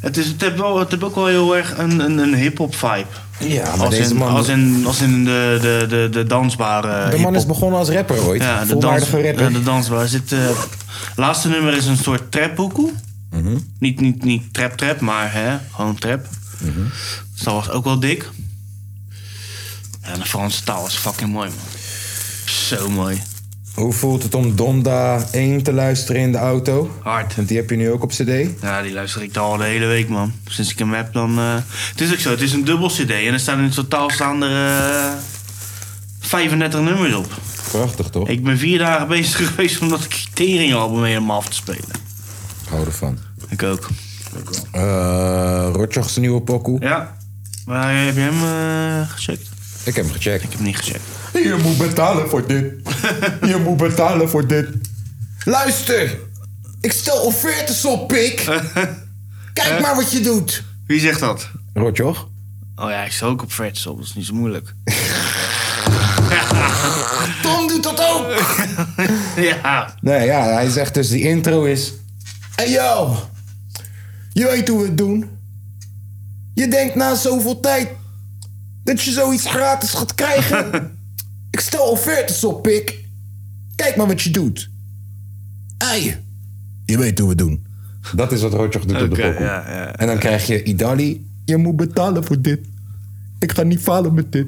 [SPEAKER 4] Het, is, het, heeft wel, het heeft ook wel heel erg een, een, een hip-hop vibe.
[SPEAKER 1] Ja, maar
[SPEAKER 4] Als
[SPEAKER 1] deze
[SPEAKER 4] in,
[SPEAKER 1] man...
[SPEAKER 4] als, in, als in de, de, de, de dansbare
[SPEAKER 1] de man is
[SPEAKER 4] hip-hop.
[SPEAKER 1] begonnen als rapper ooit.
[SPEAKER 4] Ja, de, dans,
[SPEAKER 1] Volwaardige rapper.
[SPEAKER 4] ja, de dansbare. Er Zit, eh, laatste nummer is een soort traphoekoe.
[SPEAKER 1] Mhm.
[SPEAKER 4] Niet, niet, niet trap trap, maar hè, gewoon trap.
[SPEAKER 1] Mhm.
[SPEAKER 4] Dus dat was ook wel dik. En de Franse taal is fucking mooi, man. Zo mooi.
[SPEAKER 1] Hoe voelt het om Donda 1 te luisteren in de auto?
[SPEAKER 4] Hard.
[SPEAKER 1] Want die heb je nu ook op cd.
[SPEAKER 4] Ja, die luister ik al de hele week, man. Sinds ik hem heb, dan... eh, Het is ook zo, het is een dubbel cd. En er staan in totaal staan er eh, 35 nummers op.
[SPEAKER 1] Prachtig, toch?
[SPEAKER 4] Ik ben vier dagen bezig geweest om dat criteria-album helemaal af te spelen.
[SPEAKER 1] Ik hou ervan.
[SPEAKER 4] Ik ook.
[SPEAKER 1] Eh Rotjoch's nieuwe pokoe.
[SPEAKER 4] Ja. Maar heb je hem eh, gecheckt?
[SPEAKER 1] Ik heb hem gecheckt.
[SPEAKER 4] Ik heb hem niet gecheckt.
[SPEAKER 1] Je moet betalen voor dit. Je moet betalen voor dit. Luister! Ik stel offertes op, pik! Kijk maar wat je doet!
[SPEAKER 4] Wie zegt dat?
[SPEAKER 1] Rotjoch?
[SPEAKER 4] Oh ja, ik sta ook op Freds op, dat is niet zo moeilijk.
[SPEAKER 1] Tom doet dat ook!
[SPEAKER 4] ja.
[SPEAKER 1] Nee, ja, hij zegt dus die intro is... Hey yo! Je weet hoe we het doen. Je denkt na zoveel tijd... dat je zoiets gratis gaat krijgen. Ik stel offertes op, pik. Kijk maar wat je doet. Ei. Je weet hoe we het doen. Dat is wat Rotjoch doet op de
[SPEAKER 4] Oké,
[SPEAKER 1] pokoe.
[SPEAKER 4] ja, ja.
[SPEAKER 1] En dan krijg je Idali. Je moet betalen voor dit.
[SPEAKER 6] Ik ga niet falen met dit.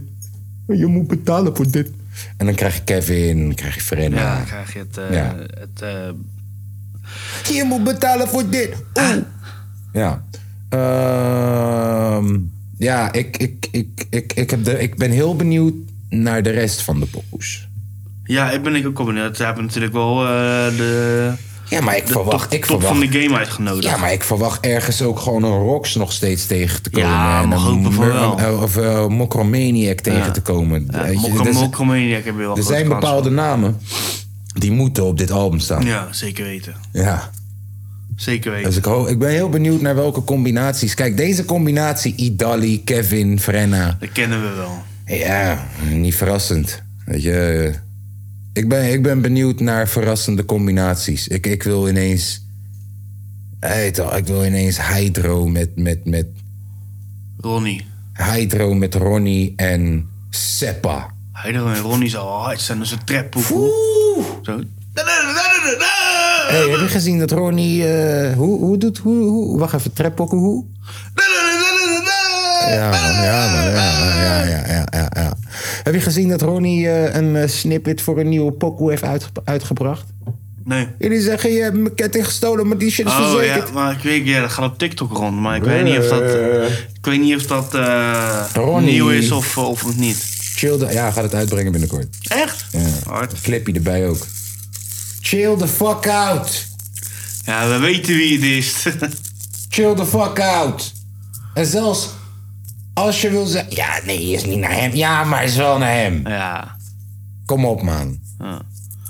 [SPEAKER 6] Je moet betalen voor dit.
[SPEAKER 1] En dan krijg je Kevin, dan krijg je Frenna.
[SPEAKER 4] Ja, dan krijg je het... eh,
[SPEAKER 1] Ja.
[SPEAKER 4] het eh,
[SPEAKER 1] Je moet betalen voor dit.
[SPEAKER 4] Ah.
[SPEAKER 1] Oeh. Ja. Ehm, ja, ik, ik, ik, ik, ik, heb de, ik ben heel benieuwd naar de rest van de pokoes.
[SPEAKER 4] ja, ik ben ik ook wel benieuwd. Ze hebben natuurlijk wel eh, de,
[SPEAKER 1] Ja, maar ik
[SPEAKER 4] de
[SPEAKER 1] verwacht...
[SPEAKER 4] top,
[SPEAKER 1] ik
[SPEAKER 4] top
[SPEAKER 1] verwacht
[SPEAKER 4] van de game uitgenodigd.
[SPEAKER 1] ja, maar ik verwacht ergens ook gewoon een Rox nog steeds tegen te komen.
[SPEAKER 4] Ja,
[SPEAKER 1] en
[SPEAKER 4] mag
[SPEAKER 1] een
[SPEAKER 4] hopen van
[SPEAKER 1] Mur-
[SPEAKER 4] wel.
[SPEAKER 1] eh, Of eh, Mokromaniac tegen te komen.
[SPEAKER 4] Ja,
[SPEAKER 1] Weet je,
[SPEAKER 4] Mokka
[SPEAKER 1] er z-
[SPEAKER 4] Mokka Maniac heb je wel
[SPEAKER 1] er
[SPEAKER 4] grote
[SPEAKER 1] zijn
[SPEAKER 4] kans
[SPEAKER 1] bepaalde namen die moeten op dit album
[SPEAKER 4] op.
[SPEAKER 1] staan.
[SPEAKER 4] Ja, zeker weten.
[SPEAKER 1] ja.
[SPEAKER 4] Zeker weten.
[SPEAKER 1] Dus ik, ho- ik ben heel benieuwd naar welke combinaties. Kijk, deze combinatie Idali, Kevin, Frenna.
[SPEAKER 4] Dat kennen we wel.
[SPEAKER 1] Ja, niet verrassend. Weet je, eh, ik ben, ik ben benieuwd naar verrassende combinaties. Ik, ik wil ineens... Weet je wel, ik wil ineens Hydro met, met, met,
[SPEAKER 4] Ronnie.
[SPEAKER 1] Hydro met Ronnie en Seppa.
[SPEAKER 4] Heido en Ronnie zou al hard zijn als een trappoep.
[SPEAKER 1] Oeh!
[SPEAKER 4] Zo.
[SPEAKER 1] Hey, heb je gezien dat Ronnie... eh, hoe, hoe doet... Hoe, hoe, wacht even, trappokken, hoe? Ja, man, ja, man, ja, man, ja, ja, ja, ja, ja. Heb je gezien dat Ronnie eh, een eh, snippet voor een nieuwe pokoe heeft uitge- uitgebracht?
[SPEAKER 4] Nee.
[SPEAKER 1] Jullie zeggen, je hebt mijn ketting gestolen, maar die shit is
[SPEAKER 4] Oh
[SPEAKER 1] verzekerd.
[SPEAKER 4] ja, maar ik weet, ja, dat gaat op TikTok rond. Maar ik weet niet of dat, ik weet niet of dat eh,
[SPEAKER 1] Ronnie.
[SPEAKER 4] nieuw is of, eh, of of niet.
[SPEAKER 1] Chill the... Ja, gaat het uitbrengen binnenkort.
[SPEAKER 4] Echt?
[SPEAKER 1] Ja.
[SPEAKER 4] Hard.
[SPEAKER 1] Clipje erbij ook. Chill the fuck out.
[SPEAKER 4] Ja, we weten wie het is.
[SPEAKER 1] Chill the fuck out. En zelfs als je wil zeggen... Ja, nee, is niet naar hem. Ja, maar is wel naar hem.
[SPEAKER 4] ja.
[SPEAKER 1] Kom op, man.
[SPEAKER 4] Ja.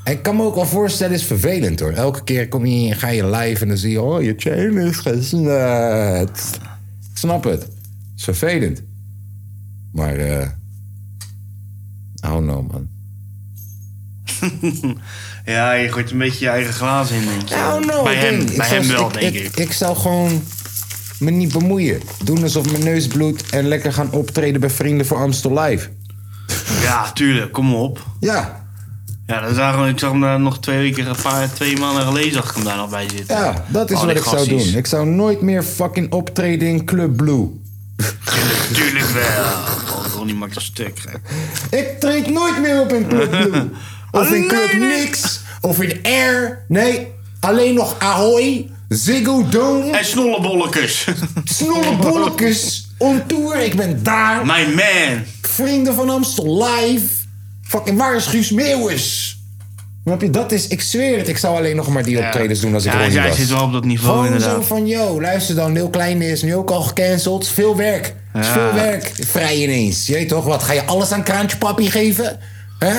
[SPEAKER 1] En Ik kan me ook wel voorstellen, is vervelend hoor. Elke keer kom je, ga je live en dan zie je, oh, je chain is gesnut. Ik snap het. is vervelend. Maar, eh. oh no, man.
[SPEAKER 4] ja, je gooit een beetje je eigen glaas in, denk je.
[SPEAKER 1] Oh no,
[SPEAKER 4] bij
[SPEAKER 1] ik
[SPEAKER 4] hem,
[SPEAKER 1] denk- ik
[SPEAKER 4] bij
[SPEAKER 1] zou-
[SPEAKER 4] hem wel, denk ik.
[SPEAKER 1] ik. Ik zou gewoon me niet bemoeien. Doen alsof mijn neus bloedt en lekker gaan optreden bij Vrienden voor Amstel Live.
[SPEAKER 4] Ja, tuurlijk, kom op.
[SPEAKER 1] Ja,
[SPEAKER 4] Ja, dat zagen we, ik zag hem daar nog twee weken, een paar, twee maanden geleden zag ik hem daar nog bij zitten.
[SPEAKER 1] ja, dat is
[SPEAKER 4] Al
[SPEAKER 1] wat
[SPEAKER 4] Oh, die
[SPEAKER 1] ik zou doen.
[SPEAKER 4] gasties.
[SPEAKER 1] Ik zou nooit meer fucking optreden in Club Blue.
[SPEAKER 4] Tuurlijk wel. Oh, Ronnie maakt een stuk. gek.
[SPEAKER 1] Ik treed nooit meer op in Club Blue. Of in Club
[SPEAKER 4] Alleen
[SPEAKER 1] Nix. Of in Air. Nee, alleen nog Ahoy. Ziggo Dome.
[SPEAKER 4] En snollebolletjes.
[SPEAKER 1] Snollebollekes. On tour. Ik ben daar.
[SPEAKER 4] My man.
[SPEAKER 1] Vrienden van Amstel live. Fucking waar is Guus Meeuwis? Snap je? Dat is... Ik zweer het. Ik zou alleen nog maar die optredens doen als ik
[SPEAKER 4] Ja,
[SPEAKER 1] Ronnie
[SPEAKER 4] hij
[SPEAKER 1] was.
[SPEAKER 4] zit wel op dat niveau,
[SPEAKER 1] Gewoon
[SPEAKER 4] inderdaad.
[SPEAKER 1] zo van, yo, luister dan, Lil Kleine is nu ook al gecanceld. Het is veel werk. Het is
[SPEAKER 4] Ja.
[SPEAKER 1] veel werk. Vrij ineens. Je weet toch, wat ga je alles aan Kraantje Papi geven? Hè?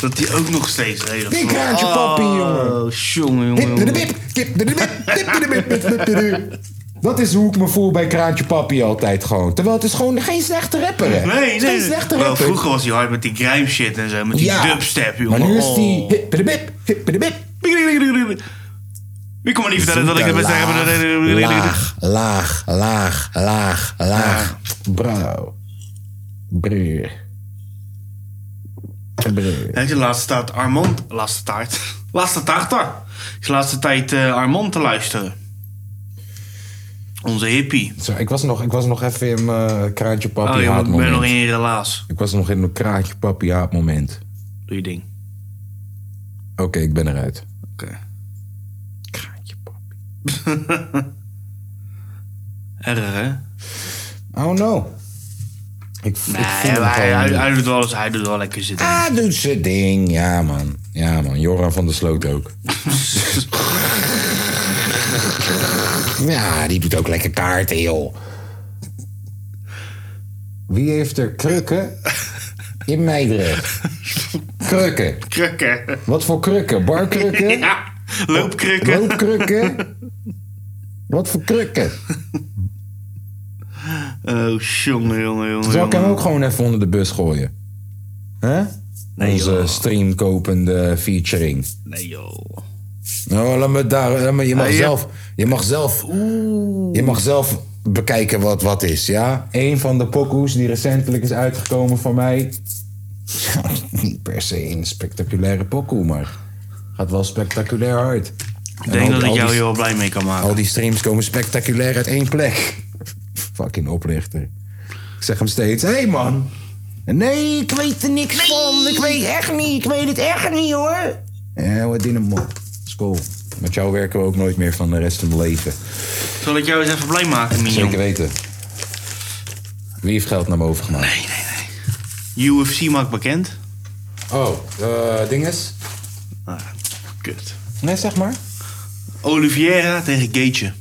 [SPEAKER 4] Dat die ook nog steeds regelt.
[SPEAKER 1] Die kraantje papi, jongen.
[SPEAKER 4] Oh, jongen, jongen,
[SPEAKER 1] Dip, dip,
[SPEAKER 4] jongen.
[SPEAKER 1] dip, dip, dip, dip, dip, dip, dip, dip, dip, dip. Dat is hoe ik me voel bij Kraantje Papi altijd gewoon. Terwijl het is gewoon geen slechte rapper, hè? Het
[SPEAKER 4] Nee,
[SPEAKER 1] is Geen
[SPEAKER 4] nee.
[SPEAKER 1] slechte
[SPEAKER 4] Wel,
[SPEAKER 1] rapper.
[SPEAKER 4] vroeger was hij hard met die grime shit en zo. Met die dubstep, jongen.
[SPEAKER 1] Maar nu is
[SPEAKER 4] Oh.
[SPEAKER 1] die... hip, dip, dip, hip, dip, dip.
[SPEAKER 4] Wie kon me niet vertellen dat ik het best heb?
[SPEAKER 1] Laag, laag, laag, laag, laag. Bro. Bruh. Bruh.
[SPEAKER 4] Heb je de laatste tijd Armand... Laatste taart. Laatste taart daar. Ik de laatste tijd eh, Armand te luisteren. Onze hippie.
[SPEAKER 1] Zo, Ik was, nog, ik was nog even in mijn eh, kraantje
[SPEAKER 4] Oh,
[SPEAKER 1] papi
[SPEAKER 4] jongen, ik ben nog in
[SPEAKER 1] haatmoment.
[SPEAKER 4] je relaas.
[SPEAKER 1] Ik was nog in mijn kraantje papi haatmoment.
[SPEAKER 4] Doe je ding.
[SPEAKER 1] Oké, ik ben eruit.
[SPEAKER 4] Oké.
[SPEAKER 1] Kraantje papi.
[SPEAKER 4] Erg, hè?
[SPEAKER 1] Oh no. Ik, ik voel
[SPEAKER 4] Nee,
[SPEAKER 1] hem
[SPEAKER 4] maar hij,
[SPEAKER 1] gewoon
[SPEAKER 4] hij,
[SPEAKER 1] niet.
[SPEAKER 4] hij doet wel eens, hij doet wel lekker zitten.
[SPEAKER 1] Ah, doet zijn ding. Ja, man. Ja, man. Joran van der Sloot ook. ja, die doet ook lekker kaarten, joh. Wie heeft er krukken in Meidrecht? Krukken.
[SPEAKER 4] Ah, Krukken.
[SPEAKER 1] Wat voor krukken? Barkrukken?
[SPEAKER 4] Ja, loopkrukken.
[SPEAKER 1] Loopkrukken? Wat voor krukken?
[SPEAKER 4] Oh, jongen, jongen, jongen.
[SPEAKER 1] Zal ik hem
[SPEAKER 4] jongen.
[SPEAKER 1] ook gewoon even onder de bus gooien? Hè? Onze
[SPEAKER 4] joh.
[SPEAKER 1] streamkopende featuring.
[SPEAKER 4] Nee, joh.
[SPEAKER 1] Nou, laat me daar. laat me- je, mag
[SPEAKER 4] Ah, je-
[SPEAKER 1] zelf, je mag zelf. Je mag zelf bekijken wat wat is, ja? Een van de pokoes die recentelijk is uitgekomen van mij. Niet per se een spectaculaire pokoe, maar. Gaat wel spectaculair hard.
[SPEAKER 4] Ik denk dat ik jou hier wel
[SPEAKER 1] Oh.
[SPEAKER 4] blij mee kan maken.
[SPEAKER 1] Al die streams komen spectaculair uit één plek. Fucking oplichter. zeg hem steeds: Hé hey man. Nee, ik weet er niks van. Ik weet echt niet. Ik weet het echt niet hoor. Ja, wat in een mop. School. Met jou werken we ook nooit meer van de rest van mijn leven.
[SPEAKER 4] Zal ik jou eens even blij maken,
[SPEAKER 1] Zeker
[SPEAKER 4] Mignon?
[SPEAKER 1] weten. Wie heeft geld naar boven gemaakt?
[SPEAKER 4] UFC maakt bekend.
[SPEAKER 1] Oh, eh dinges?
[SPEAKER 4] Ah, kut.
[SPEAKER 1] Nee, zeg maar.
[SPEAKER 4] Oliviera tegen Gaetje.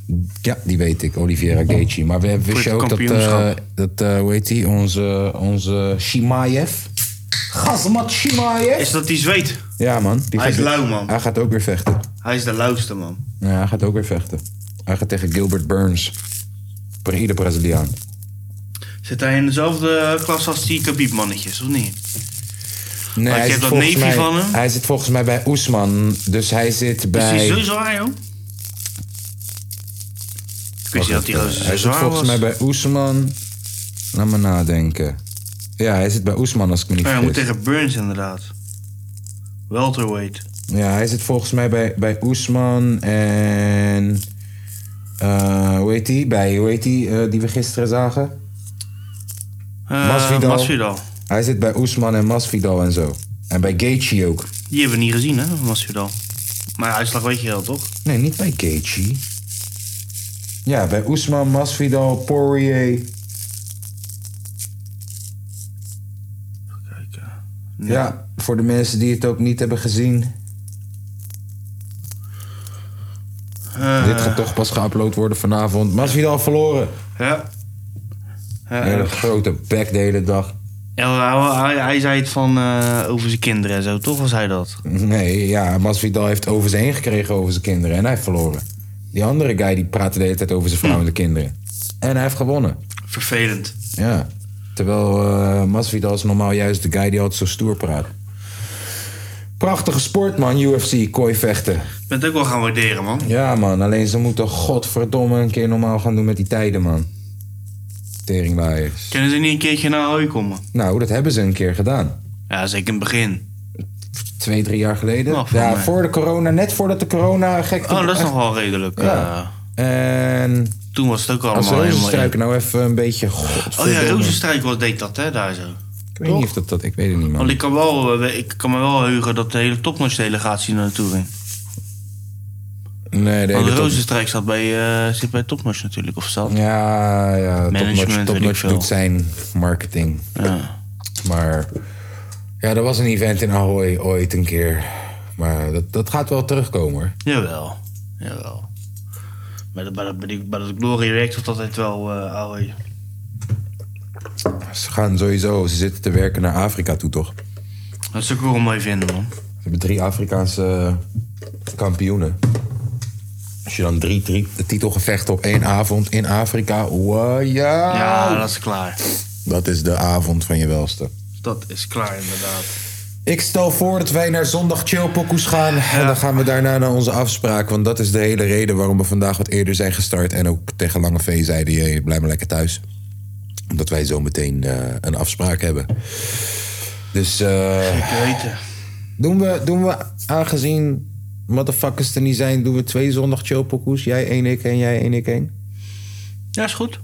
[SPEAKER 1] Ja, die weet ik, Oliviera Gaethje. Maar we hebben wist
[SPEAKER 4] Voor
[SPEAKER 1] je
[SPEAKER 4] het
[SPEAKER 1] ook dat, eh
[SPEAKER 4] kampioenschap.
[SPEAKER 1] dat eh, hoe heet die, onze, onze Shimaev. Gazmat Shimaev.
[SPEAKER 4] Is dat die zweet?
[SPEAKER 1] Ja man. Die
[SPEAKER 4] Hij is
[SPEAKER 1] gaat-
[SPEAKER 4] lui, man.
[SPEAKER 1] Hij gaat ook weer vechten.
[SPEAKER 4] Hij is de lauwste, man.
[SPEAKER 1] Ja, hij gaat ook weer vechten. Hij gaat tegen Gilbert Burns. Voor ieder Braziliaan.
[SPEAKER 4] Zit hij in dezelfde klas als die Khabib-mannetjes, of niet?
[SPEAKER 1] Nee,
[SPEAKER 4] Maar ik heb
[SPEAKER 1] zit
[SPEAKER 4] dat
[SPEAKER 1] volgens
[SPEAKER 4] neefje
[SPEAKER 1] mij,
[SPEAKER 4] van hem.
[SPEAKER 1] Hij zit volgens mij bij Oesman. Dus hij zit
[SPEAKER 4] Is hij
[SPEAKER 1] bij...
[SPEAKER 4] zo zwaar, joh? Ik wist niet dat die roze zo
[SPEAKER 1] eh, Hij zit
[SPEAKER 4] zwaar
[SPEAKER 1] volgens
[SPEAKER 4] was.
[SPEAKER 1] mij bij Oesman. Laat me nadenken. Ja, hij zit bij Oesman als ik me niet
[SPEAKER 4] Oh, hij moet
[SPEAKER 1] vergis.
[SPEAKER 4] tegen Burns, inderdaad. Welterweight.
[SPEAKER 1] Ja, hij zit volgens mij bij, bij Oesman en... eh, hoe heet die? Bij, hoe heet die eh, die we gisteren zagen?
[SPEAKER 4] Eh,
[SPEAKER 1] Masvidal.
[SPEAKER 4] Masvidal.
[SPEAKER 1] Hij zit bij Oesman en Masvidal en zo. En bij Gaethje ook.
[SPEAKER 4] Die hebben we niet gezien, hè, Masvidal. Maar ja, uitslag weet je wel, toch?
[SPEAKER 1] Nee, niet bij Gaethje. Ja, bij Oesman, Masvidal, Poirier.
[SPEAKER 4] Kijk, eh,
[SPEAKER 1] Ja, voor de mensen die het ook niet hebben gezien.
[SPEAKER 4] eh,
[SPEAKER 1] Dit gaat toch pas geüpload worden vanavond. Masvidal verloren.
[SPEAKER 4] Ja. Ja,
[SPEAKER 1] Hele grote bek de hele dag.
[SPEAKER 4] Eh, ja, hij, hij zei het van eh, over zijn kinderen en zo, toch was hij dat?
[SPEAKER 1] Nee, ja, Masvidal heeft over zijn heen gekregen over zijn kinderen en hij heeft verloren. Die andere guy die praatte de hele tijd over zijn vrouw en de kinderen. En hij heeft gewonnen.
[SPEAKER 4] Vervelend.
[SPEAKER 1] Ja. Terwijl eh Masvidal is normaal juist de guy die altijd zo stoer praat. Prachtige sport, man, UFC, kooivechten.
[SPEAKER 4] Ik ben het ook wel gaan waarderen, man.
[SPEAKER 1] Ja, man, alleen ze moeten godverdomme een keer normaal gaan doen met die tijden, man. Teringwaaiers.
[SPEAKER 4] Kunnen ze niet een keertje naar Ahoy komen?
[SPEAKER 1] Nou, dat hebben ze een keer gedaan.
[SPEAKER 4] Ja, zeker in het begin.
[SPEAKER 1] Twee, drie jaar geleden.
[SPEAKER 4] Oh, voor
[SPEAKER 1] ja,
[SPEAKER 4] mij.
[SPEAKER 1] voor de corona, net voordat de corona gek
[SPEAKER 4] Oh, dat is nog wel redelijk.
[SPEAKER 1] Ja.
[SPEAKER 4] eh,
[SPEAKER 1] En
[SPEAKER 4] toen was het ook
[SPEAKER 1] als
[SPEAKER 4] allemaal helemaal...
[SPEAKER 1] rozenstruik nou even een beetje...
[SPEAKER 4] Oh ja,
[SPEAKER 1] godverdomme.
[SPEAKER 4] Rozenstruik was deed dat, hè, daar zo.
[SPEAKER 1] Ik weet niet of dat, dat... Ik weet het niet,
[SPEAKER 4] Want
[SPEAKER 1] man.
[SPEAKER 4] ik kan, wel, eh, ik kan me wel heugen dat de hele topnotch-delegatie naartoe ging.
[SPEAKER 1] Nee, de
[SPEAKER 4] Want
[SPEAKER 1] hele top-
[SPEAKER 4] Rozenstrijk zat bij, eh zit bij Topnotch natuurlijk, of zat?
[SPEAKER 1] Ja, ja,
[SPEAKER 4] Management,
[SPEAKER 1] Topnotch
[SPEAKER 4] weet
[SPEAKER 1] top
[SPEAKER 4] ik
[SPEAKER 1] Notch
[SPEAKER 4] veel.
[SPEAKER 1] doet zijn marketing.
[SPEAKER 4] Ja.
[SPEAKER 1] Maar ja, er was een event in Ahoy ooit een keer. Maar dat, dat gaat wel terugkomen, hoor.
[SPEAKER 4] Jawel, jawel. Bij dat, bij dat, bij die- bij dat Glory werkt dat altijd wel, eh ouwe.
[SPEAKER 1] Ze gaan sowieso, ze zitten te werken naar Afrika toe, toch?
[SPEAKER 4] Dat zou ik wel mooi vinden, man.
[SPEAKER 1] Ze hebben drie Afrikaanse kampioenen. Als je dan drie, drie titelgevechten op één avond in Afrika. Wow, ja.
[SPEAKER 4] Ja, dat is klaar.
[SPEAKER 1] Dat is de avond van je welste.
[SPEAKER 4] Dat is klaar, inderdaad.
[SPEAKER 1] Ik stel voor dat wij naar zondag chillpokoes gaan. En dan gaan we daarna naar onze afspraak. Want dat is de hele reden waarom we vandaag wat eerder zijn gestart. En ook tegen Lange V zeiden, "Hey, blijf maar lekker thuis. Omdat wij zo meteen eh, een afspraak hebben. Dus eh,
[SPEAKER 4] Ik weten.
[SPEAKER 1] doen, we, doen we, aangezien motherfuckers er niet zijn... doen we twee zondag chillpokoes. Jij één, ik één, jij één, ik één.
[SPEAKER 4] Ja, is goed.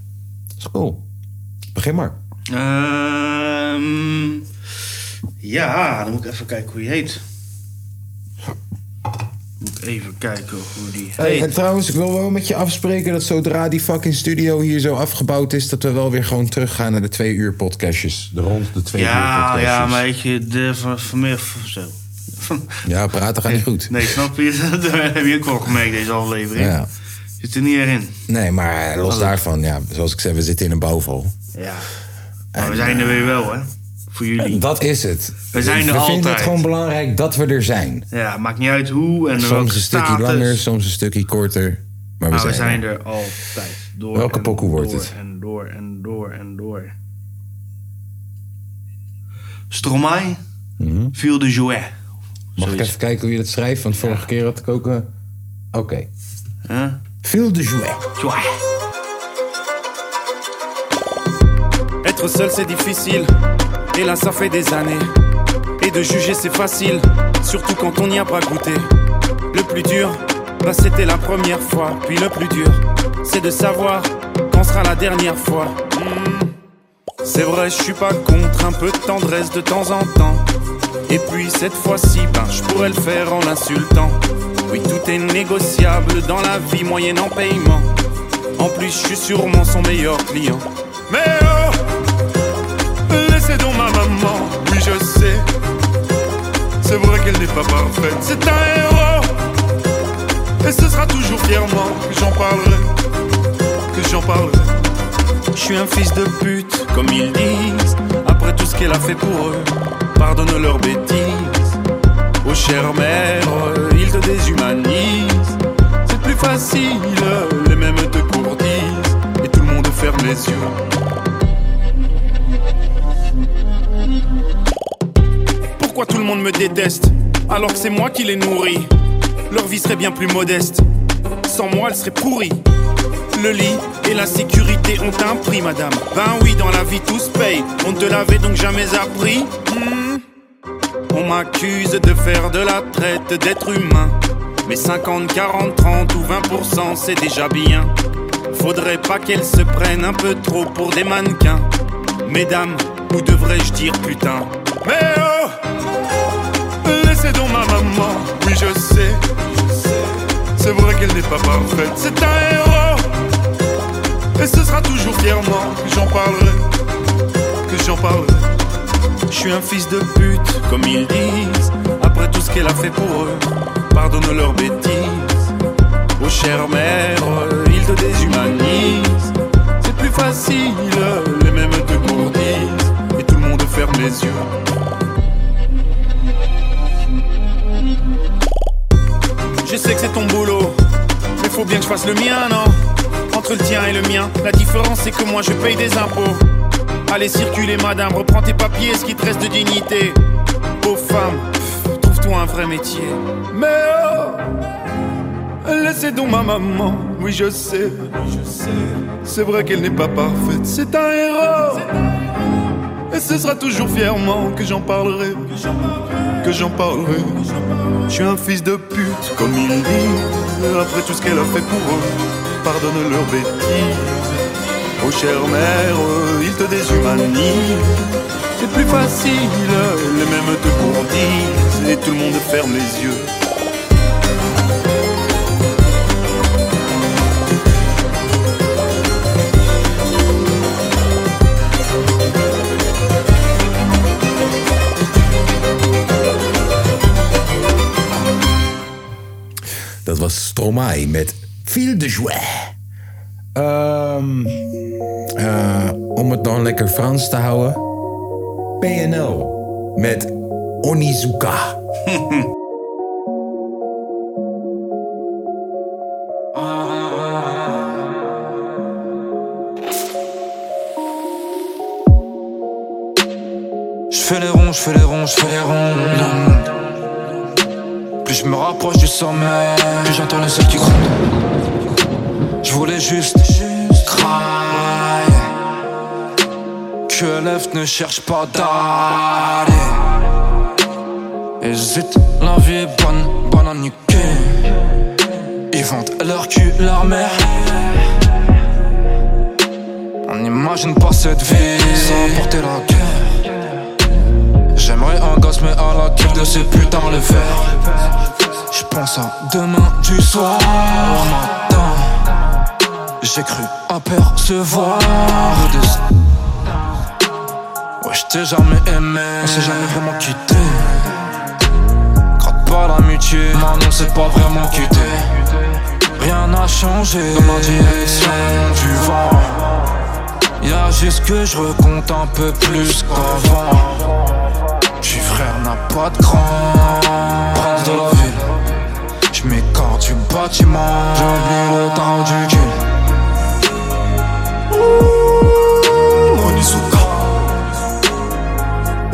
[SPEAKER 1] Is cool. Begin maar.
[SPEAKER 4] Ehm, ja, dan moet ik even kijken hoe die heet. Moet ik even kijken hoe die
[SPEAKER 1] Hey, en
[SPEAKER 4] heet.
[SPEAKER 1] trouwens, ik wil wel met je afspreken dat zodra die fucking studio hier zo afgebouwd is, dat we wel weer gewoon teruggaan naar de twee uur podcastjes. De rond de twee uur
[SPEAKER 4] Ja,
[SPEAKER 1] podcastjes.
[SPEAKER 4] ja, maar weet je, de van vanmiddag of zo. Van-
[SPEAKER 1] Ja, praten gaat niet goed.
[SPEAKER 4] Nee, snap je? Dat heb je ook al gemerkt, deze aflevering.
[SPEAKER 1] Ja.
[SPEAKER 4] Zit er niet meer in.
[SPEAKER 1] Nee, maar los daarvan, ja, zoals ik zei, we zitten in een bouwval.
[SPEAKER 4] Ja. Maar we zijn er weer wel, hè? Voor jullie.
[SPEAKER 1] Dat is het.
[SPEAKER 4] We zijn er
[SPEAKER 1] We vinden
[SPEAKER 4] altijd.
[SPEAKER 1] het gewoon belangrijk dat we er zijn.
[SPEAKER 4] Ja, maakt niet uit hoe en
[SPEAKER 1] Soms
[SPEAKER 4] welke
[SPEAKER 1] een
[SPEAKER 4] status.
[SPEAKER 1] stukje langer, soms een stukje korter. Maar we,
[SPEAKER 4] maar
[SPEAKER 1] zijn,
[SPEAKER 4] we zijn
[SPEAKER 1] er.
[SPEAKER 4] er altijd. Door
[SPEAKER 1] Welke
[SPEAKER 4] en
[SPEAKER 1] pokoe wordt
[SPEAKER 4] door
[SPEAKER 1] het?
[SPEAKER 4] En door en door en door. Stromae,
[SPEAKER 1] Mhm.
[SPEAKER 4] Viel de Jouet.
[SPEAKER 1] Mag ik
[SPEAKER 4] Zoiets.
[SPEAKER 1] even kijken hoe je dat schrijft? Want vorige keer had ik ook... eh, Oké.
[SPEAKER 4] Huh?
[SPEAKER 1] Veel de jouet.
[SPEAKER 4] Jouet.
[SPEAKER 8] Être seul c'est difficile, et là ça fait des années. Et de juger c'est facile, surtout quand on n'y a pas goûté. Le plus dur, bah c'était la première fois. Puis le plus dur, c'est de savoir quand sera la dernière fois. Hmm. C'est vrai, je suis pas contre un peu de tendresse de temps en temps. Et puis cette fois-ci, ben, je pourrais le faire en l'insultant. Oui, tout est négociable dans la vie moyenne en paiement. En plus, je suis sûrement son meilleur client. Mais oh, laissez donc ma maman, oui je sais. C'est vrai qu'elle n'est pas parfaite, c'est un héros. Et ce sera toujours fièrement que j'en parlerai, que j'en parlerai. Je suis un fils de pute, comme ils disent, après tout ce qu'elle a fait pour eux. Pardonne leurs bêtises. Oh chère mère, ils te déshumanisent. C'est plus facile, les mêmes te courtisent. Et tout le monde ferme les yeux. Pourquoi tout le monde me déteste alors que c'est moi qui les nourris Leur vie serait bien plus modeste. Sans moi, elle serait pourrie. Le lit et la sécurité ont un prix, madame. Ben oui, dans la vie, tout se paye. On ne te l'avait donc jamais appris. Hmm. On m'accuse de faire de la traite d'êtres humains. Mais 50, 40, 30 ou 20%, c'est déjà bien. Faudrait pas qu'elles se prennent un peu trop pour des mannequins. Mesdames, ou devrais-je dire putain Mais oh Laissez donc ma maman, oui je sais. C'est vrai qu'elle n'est pas parfaite, c'est un héros. Et ce sera toujours fièrement que j'en parlerai, que j'en parlerai. Je suis un fils de pute, comme ils disent, après tout ce qu'elle a fait pour eux. Pardonne leurs bêtises. Oh chère mère, ils te déshumanisent. C'est plus facile, les mêmes te gourdissent. Et tout le monde ferme les yeux. Je sais que c'est ton boulot, mais faut bien que je fasse le mien, non Entre le tien et le mien, la différence c'est que moi je paye des impôts. Allez circuler madame, reprends tes papiers, ce qui te reste de dignité. Pauvre femme, pff, trouve-toi un vrai métier. Mais oh Laissez donc ma maman, oui je sais. C'est vrai qu'elle n'est pas parfaite, c'est un héros. Et ce sera toujours fièrement que j'en parlerai. Que j'en parlerai. Je suis un fils de pute, comme il dit. Après tout ce qu'elle a fait pour eux, pardonne leurs bêtises. Oh chère mère, euh, ils te déshumanisent. C'est plus facile, les mêmes te courtisent. Et tout le monde ferme les yeux.
[SPEAKER 1] Dat was Stromae met Fil de Joie. Ehm, eh, om het dan lekker Frans te houden. PNL met Onizuka.
[SPEAKER 9] Je fais les ronds, je fais les ronds, je fais les ronds. Plus je me rapproche du sommet, plus j'entends le seuil qui gronde. Je voulais juste, juste cry. Que l'œuf ne cherche pas d'aller. Hésite, la vie est bonne, bonne à niquer. Ils vendent leur cul, leur mère. On n'imagine pas cette vie sans porter la guerre. J'aimerais un gosse mais à la gueule de ces putains le verre Je pense à demain du soir au matin J'ai cru apercevoir le destin Ouais je t'ai jamais aimé On s'est jamais vraiment quitté Gratte pas l'amitié Maintenant c'est pas vraiment quitté Rien n'a changé dans la direction du vent Y'a juste que je recompte un peu plus qu'avant J'suis frère n'a pas de grand Prince de la ville Je m'écarte du bâtiment J'oublie le temps du cul Ouh, Onizuka.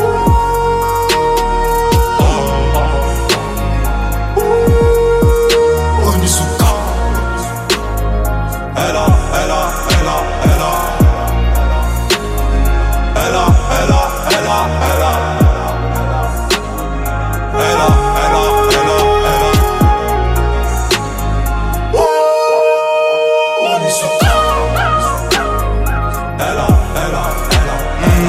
[SPEAKER 9] Ouh, oh. Ouh, Onizuka. Elle a, elle a, elle a, elle a. Elle a, elle a, elle a, elle a. Ella, Ella, Ella, Ella. Oh, on est sur Ella, Ella, Ella, Ella.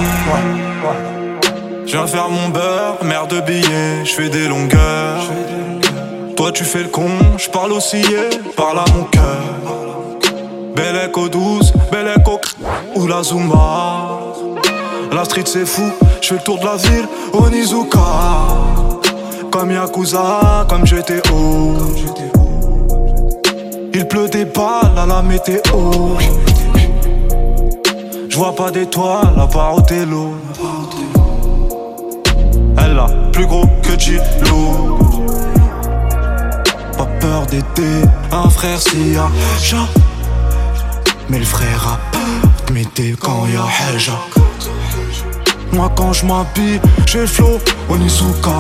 [SPEAKER 10] Je viens faire mon beurre, merde de billets, je fais des longueurs. Toi tu fais le con, je parle aussi, yeah, parle à mon cœur. Belle écho 12, belle écho cr- ou la Zumba. La street c'est fou, je fais le tour de la ville, Onizuka. Comme Yakuza, comme GTO. Il pleut des balles à la météo. Je vois pas d'étoiles à part Othello. Elle a plus gros que Gillo. Pas peur d'aider un frère s'il y a Hja. Mais le frère a peur de m'aider quand il y a Hja. Moi quand je m'habille, j'ai le flow Onizuka.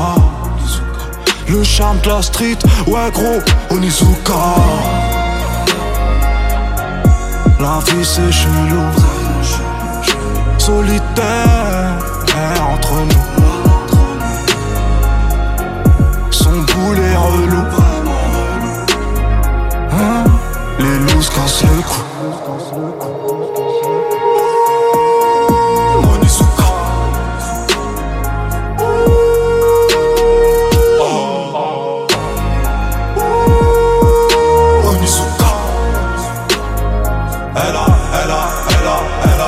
[SPEAKER 10] Le charme de la street, ouais gros Onizuka. La vie c'est chelou, solitaire entre nous. Son boulet relou. Hein? Les loups se cassent le cou. Onizuka. Onizuka. Elle a, elle a, elle a, elle a.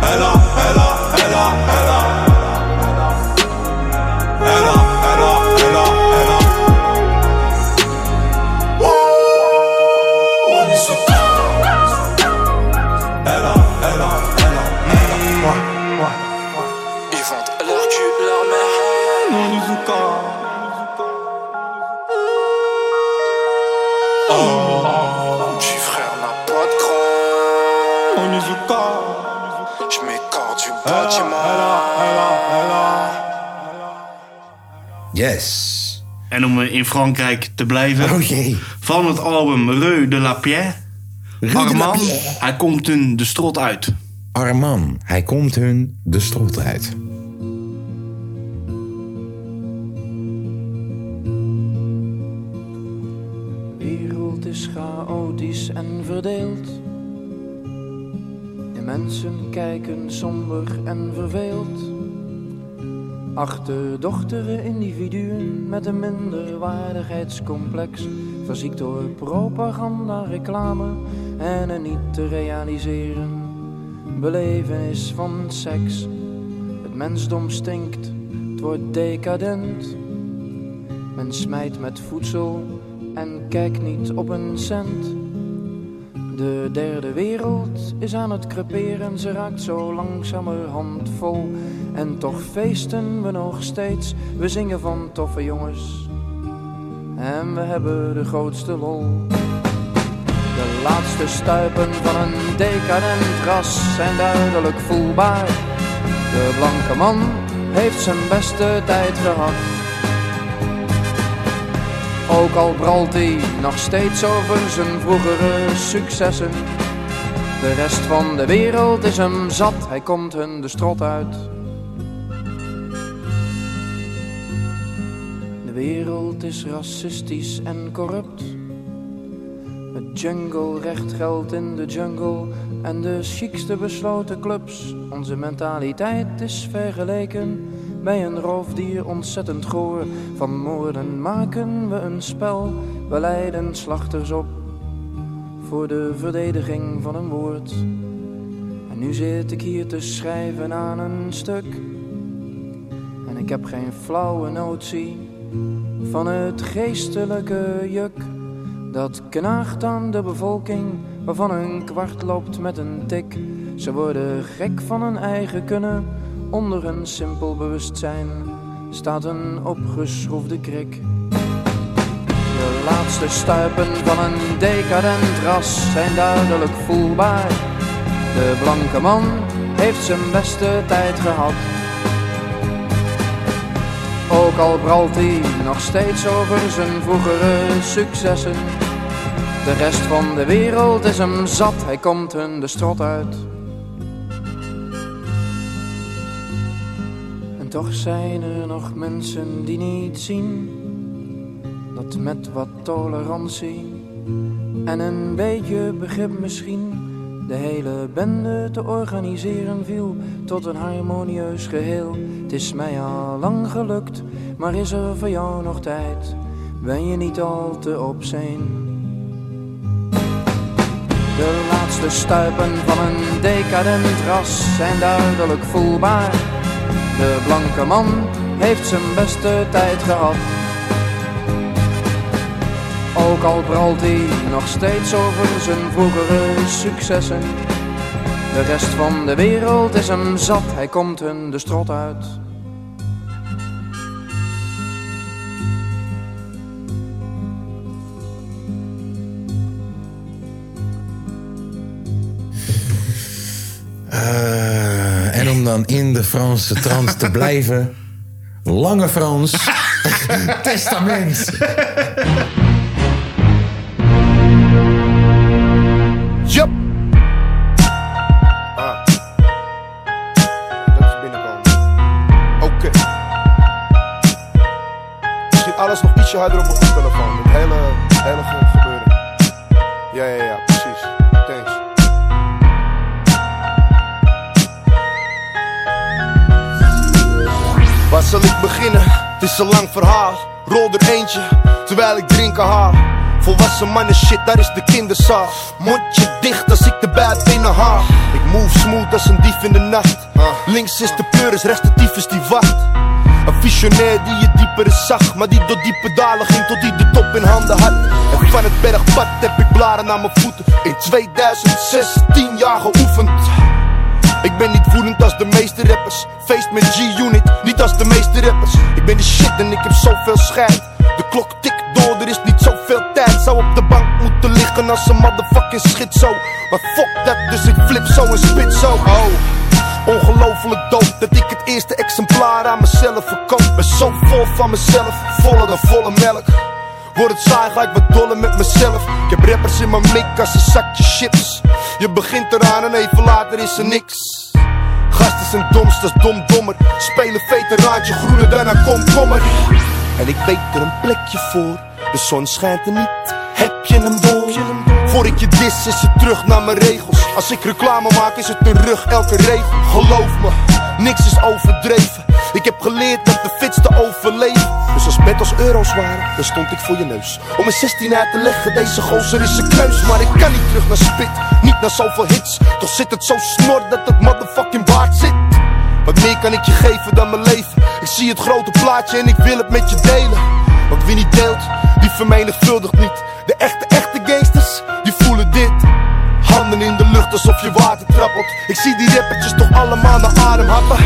[SPEAKER 10] Elle a, elle a, elle a, elle a. Elle a, elle a, elle a, elle a. Oh, Onizuka. Elle a, elle a, elle a, elle a. Ouais, ouais. Ils vendent leur cul, leur mère. Onizuka. Oh, petit frère n'a pas de cran. Onizuka. Je m'écarte du bâtiment.
[SPEAKER 1] Yes.
[SPEAKER 4] En om in Frankrijk te blijven.
[SPEAKER 1] Oh jee.
[SPEAKER 4] Van het album Reu de la Pierre. Armand, hij komt hun de strot uit.
[SPEAKER 1] Arman, hij komt hun de strot uit.
[SPEAKER 11] wereld is chaotisch en verdeeld. De mensen kijken somber en verveeld. Achterdochtere individuen met een minderwaardigheidscomplex. Verziekt door propaganda, reclame en een niet te realiseren belevenis van seks. Het mensdom stinkt, het wordt decadent. Men smijt met voedsel en kijkt niet op een cent. De derde wereld is aan het creperen, ze raakt zo langzamerhand vol. En toch feesten we nog steeds, we zingen van toffe jongens. En we hebben de grootste lol. De laatste stuipen van een decadent ras zijn duidelijk voelbaar. De blanke man heeft zijn beste tijd gehad. Ook al bralt hij nog steeds over zijn vroegere successen. De rest van de wereld is hem zat, hij komt hun de strot uit. De wereld is racistisch en corrupt. Het junglerecht geldt in de jungle en de chicste besloten clubs. Onze mentaliteit is vergeleken bij een roofdier ontzettend goor. Van moorden maken we een spel, we leiden slachters op voor de verdediging van een woord. En nu zit ik hier te schrijven aan een stuk en ik heb geen flauwe notie van het geestelijke juk. Dat knaagt aan de bevolking, waarvan een kwart loopt met een tik. Ze worden gek van hun eigen kunnen, onder een simpel bewustzijn staat een opgeschroefde krik. De laatste stuipen van een decadent ras zijn duidelijk voelbaar. De blanke man heeft zijn beste tijd gehad. Ook al bralt hij nog steeds over zijn vroegere successen. De rest van de wereld is hem zat, hij komt hun de strot uit. En toch zijn er nog mensen die niet zien dat met wat tolerantie en een beetje begrip misschien de hele bende te organiseren viel tot een harmonieus geheel. Het is mij al lang gelukt, maar is er voor jou nog tijd? Ben je niet al te op zijn? De laatste stuipen van een decadent ras zijn duidelijk voelbaar. De blanke man heeft zijn beste tijd gehad. Ook al bralt hij nog steeds over zijn vroegere successen. De rest van de wereld is hem zat, hij komt hun de strot uit.
[SPEAKER 1] Eh, en om dan in de Franse trance te blijven. Lange Frans. Testament.
[SPEAKER 12] Yup. Ah. Dat is binnenkomen. Oké. Misschien alles nog ietsje harder op mijn telefoon. Het hele, hele ge- gebeuren. Ja, ja, ja, precies. Thanks. Waar zal ik beginnen? Het is een lang verhaal. Rol er eentje, terwijl ik drinken haal. Volwassen mannen shit, daar is de kinderzaal. Mondje dicht als ik de buit binnen haal. Ik move smooth als een dief in de nacht. Links is de pleuris, rechts de tyfus die wacht. Een visionair die je dieper is zag, maar die door diepe dalen ging tot hij de top in handen had. En van het bergpad heb ik blaren aan mijn voeten. In 2016 jaar geoefend. Ik ben niet woedend als de meeste rappers. Feest met G-Unit, niet als de meeste rappers. Ik ben de shit en ik heb zoveel schijn. De klok tikt door, er is niet zoveel tijd. Zou op de bank moeten liggen als een motherfucking schizo. Maar fuck dat, dus ik flip zo en spit zo. Oh. Ongelooflijk dood dat ik het eerste exemplaar aan mezelf verkoop. Ben zo vol van mezelf, voller dan volle melk. Word het saai, ga ik wat dollen met mezelf. Ik heb rappers in mijn mik als een zakje chips. Je begint eraan en even later is er niks. Gasten zijn domst als domdommer. Spelen veteraantje groener dan een komkommer. En ik weet er een plekje voor. De zon schijnt er niet. Heb je hem door? Voor ik je dis is het terug naar mijn regels. Als ik reclame maak is het een rug elke regel. Geloof me, niks is overdreven. Ik heb geleerd dat de fits te overleven. Dus als bed als euro's waren, dan stond ik voor je neus. Om een 16 uit te leggen, deze gozer is een keus. Maar ik kan niet terug naar spit, niet naar zoveel hits. Toch zit het zo snor dat het motherfucking waard zit. Wat meer kan ik je geven dan mijn leven? Ik zie het grote plaatje en ik wil het met je delen. Want wie niet deelt, die vermenigvuldigt niet. De echte, echte gangsters, die voelen dit. Handen in de lucht alsof je water trappelt. Ik zie die rappertjes toch allemaal naar adem happen.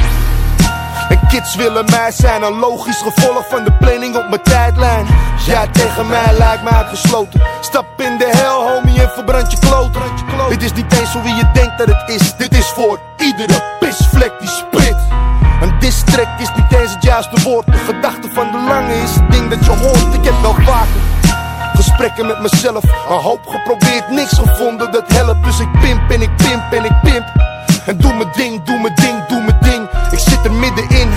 [SPEAKER 12] En kids willen mij zijn, een logisch gevolg van de planning op mijn tijdlijn. Jij tegen mij lijkt mij uitgesloten. Stap in de hel, homie, en verbrand je kloten. Het is niet eens zo wie je denkt dat het is. Dit is voor iedere pisvlek die split. Een district is niet eens het juiste woord. De gedachte van de lange is het ding dat je hoort. Ik heb wel vaker Gesprekken met mezelf, een hoop geprobeerd, niks gevonden dat helpt. Dus ik pimp en ik pimp en ik pimp. En doe mijn ding, doe mijn ding, doe mijn ding. Ik zit er middenin,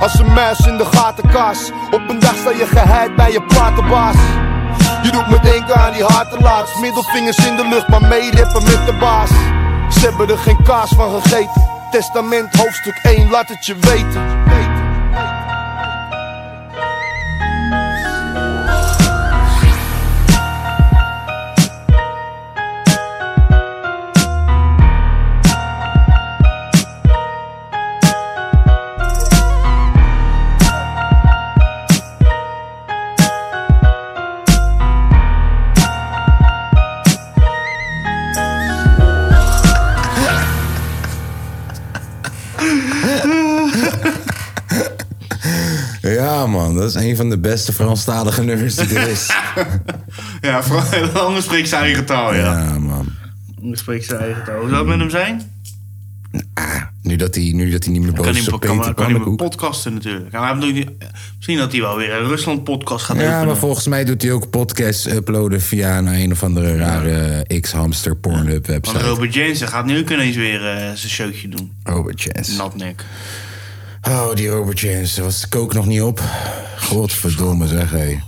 [SPEAKER 12] als een muis in de gatenkaas. Op een dag sta je geheid bij je platenbaas. Je doet me denken aan die hartenlaats. Middelvingers in de lucht, maar meerippen met de baas. Ze hebben er geen kaas van gegeten. Testament hoofdstuk 1, laat het je weten.
[SPEAKER 1] Ja, man. Dat is een van de beste Franstalige nummers die er is.
[SPEAKER 4] Ja, vooral, anders spreekt zijn eigen taal, ja.
[SPEAKER 1] Ja, man.
[SPEAKER 4] Anders spreekt zijn eigen taal. Hoe zou het met hem zijn?
[SPEAKER 1] Nu dat hij, nu dat hij niet meer
[SPEAKER 4] Kan
[SPEAKER 1] boos
[SPEAKER 4] hij,
[SPEAKER 1] is
[SPEAKER 4] kan,
[SPEAKER 1] op Peter
[SPEAKER 4] kan, kan hij
[SPEAKER 1] Pannenkoek.
[SPEAKER 4] podcasten natuurlijk. Ja, maar hij bedoelt niet- misschien dat hij wel weer een Rusland-podcast gaat
[SPEAKER 1] Ja,
[SPEAKER 4] openen.
[SPEAKER 1] maar volgens mij doet hij ook podcasts uploaden via nou, een, een of andere rare X-hamster
[SPEAKER 4] Want
[SPEAKER 1] Pornhub website.
[SPEAKER 4] Robert Jensen gaat nu ook ineens weer eh, zijn showtje doen.
[SPEAKER 1] Robert Chance.
[SPEAKER 4] Natnek.
[SPEAKER 1] Oh, die Robert Chance. Was de kook nog niet op? Godverdomme zeg, hé.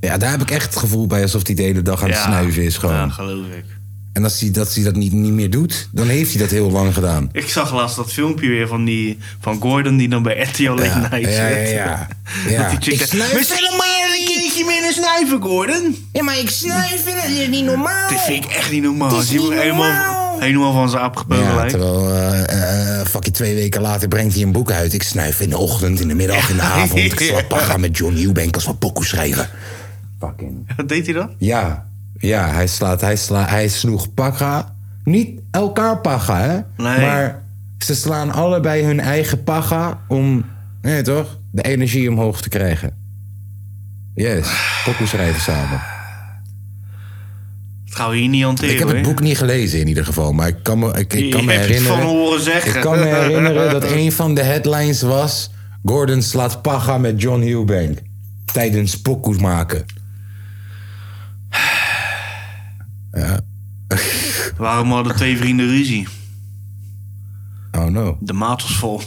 [SPEAKER 1] Ja, daar heb ik echt het gevoel bij alsof hij de hele dag aan het
[SPEAKER 4] Ja.
[SPEAKER 1] snuiven is gewoon.
[SPEAKER 4] Ja, geloof ik.
[SPEAKER 1] En als hij dat, hij dat niet, niet meer doet, dan heeft hij dat heel lang gedaan.
[SPEAKER 4] Ik zag laatst dat filmpje weer van, die, van Gordon die dan bij RTL Late Night
[SPEAKER 1] ja,
[SPEAKER 4] zit.
[SPEAKER 1] ja, ja.
[SPEAKER 4] Dat die chick
[SPEAKER 1] Ik
[SPEAKER 4] zegt,
[SPEAKER 1] snuif
[SPEAKER 4] "We zullen maar een keertje meer snuiven, Gordon.
[SPEAKER 6] Ja, maar ik snuiven, dat is niet normaal.
[SPEAKER 4] Dit vind ik echt niet normaal.
[SPEAKER 6] Het is
[SPEAKER 4] Die
[SPEAKER 6] niet
[SPEAKER 4] wordt helemaal, helemaal van zijn apgepeugel
[SPEAKER 1] Ja,
[SPEAKER 4] lijkt.
[SPEAKER 1] terwijl eh, eh, fucking twee weken later brengt hij een boek uit. Ik snuif in de ochtend, in de middag, in de avond. Ik slaap paga met John Eubank als mijn pokoe schrijven.
[SPEAKER 4] Wat deed hij dan?
[SPEAKER 1] Ja, ja hij, slaat, hij, sla, hij snoeg paga. Niet elkaar paga, hè?
[SPEAKER 4] Nee.
[SPEAKER 1] Maar ze slaan allebei hun eigen paga om, nee toch, de energie omhoog te krijgen. Yes, pokoe schrijven samen.
[SPEAKER 4] Dat gaan we hier niet hanteren.
[SPEAKER 1] Ik heb het
[SPEAKER 4] hoor.
[SPEAKER 1] boek niet gelezen in ieder geval, maar ik kan me, ik, ik
[SPEAKER 4] Je
[SPEAKER 1] kan me
[SPEAKER 4] hebt het
[SPEAKER 1] herinneren.
[SPEAKER 4] van horen zeggen.
[SPEAKER 1] Ik kan me herinneren dat een van de headlines was: Gordon slaat paga met John Eubank tijdens pokoes maken. Ja.
[SPEAKER 4] Waarom hadden twee vrienden ruzie?
[SPEAKER 1] Oh no.
[SPEAKER 4] De maat was vol.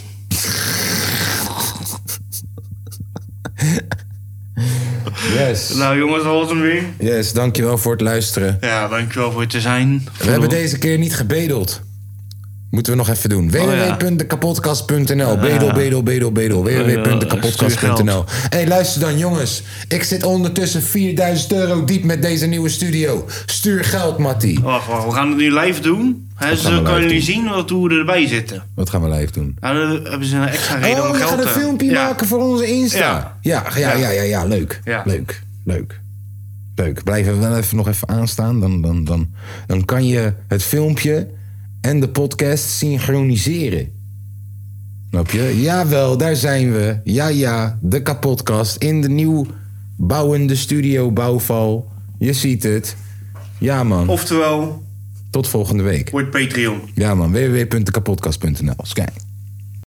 [SPEAKER 1] Yes.
[SPEAKER 4] Nou jongens, dat was hem weer.
[SPEAKER 1] Yes, dankjewel voor het luisteren.
[SPEAKER 4] Ja, dankjewel voor het te zijn.
[SPEAKER 1] We hebben deze keer niet gebedeld. Moeten we nog even doen.
[SPEAKER 4] Oh, ja. Oh,
[SPEAKER 1] www.dekapodcast.nl Bedel, bedel, bedel, bedel. www.dekapodcast.nl hey, luister dan jongens. Ik zit ondertussen 4000 euro diep met deze nieuwe studio. Stuur geld, Mattie.
[SPEAKER 4] Wacht, wacht, we gaan het nu live doen. Hè,
[SPEAKER 1] Wat
[SPEAKER 4] ze
[SPEAKER 1] gaan we
[SPEAKER 4] kunnen
[SPEAKER 1] live
[SPEAKER 4] jullie
[SPEAKER 1] doen?
[SPEAKER 4] zien wat, hoe we erbij zitten.
[SPEAKER 1] Wat gaan we live doen?
[SPEAKER 4] Nou, dan hebben ze een extra reden
[SPEAKER 1] Oh,
[SPEAKER 4] om
[SPEAKER 1] we
[SPEAKER 4] geld
[SPEAKER 1] gaan
[SPEAKER 4] te
[SPEAKER 1] een filmpje
[SPEAKER 4] Ja.
[SPEAKER 1] maken voor onze Insta.
[SPEAKER 4] Ja.
[SPEAKER 1] Ja, ja, ja, ja, ja, leuk.
[SPEAKER 4] Ja.
[SPEAKER 1] Leuk, leuk. Leuk. Blijf er wel even nog even aanstaan. Dan, dan, dan, dan kan je het filmpje en de podcast synchroniseren. Snap je? Jawel, daar zijn we. Ja, ja, de kapotkast in de nieuw bouwende studio Bouwval. Je ziet het. Ja, man.
[SPEAKER 4] Oftewel,
[SPEAKER 1] Tot volgende week.
[SPEAKER 4] wordt Patreon.
[SPEAKER 1] Ja, man. www.dekapotkast.nl. Kijk.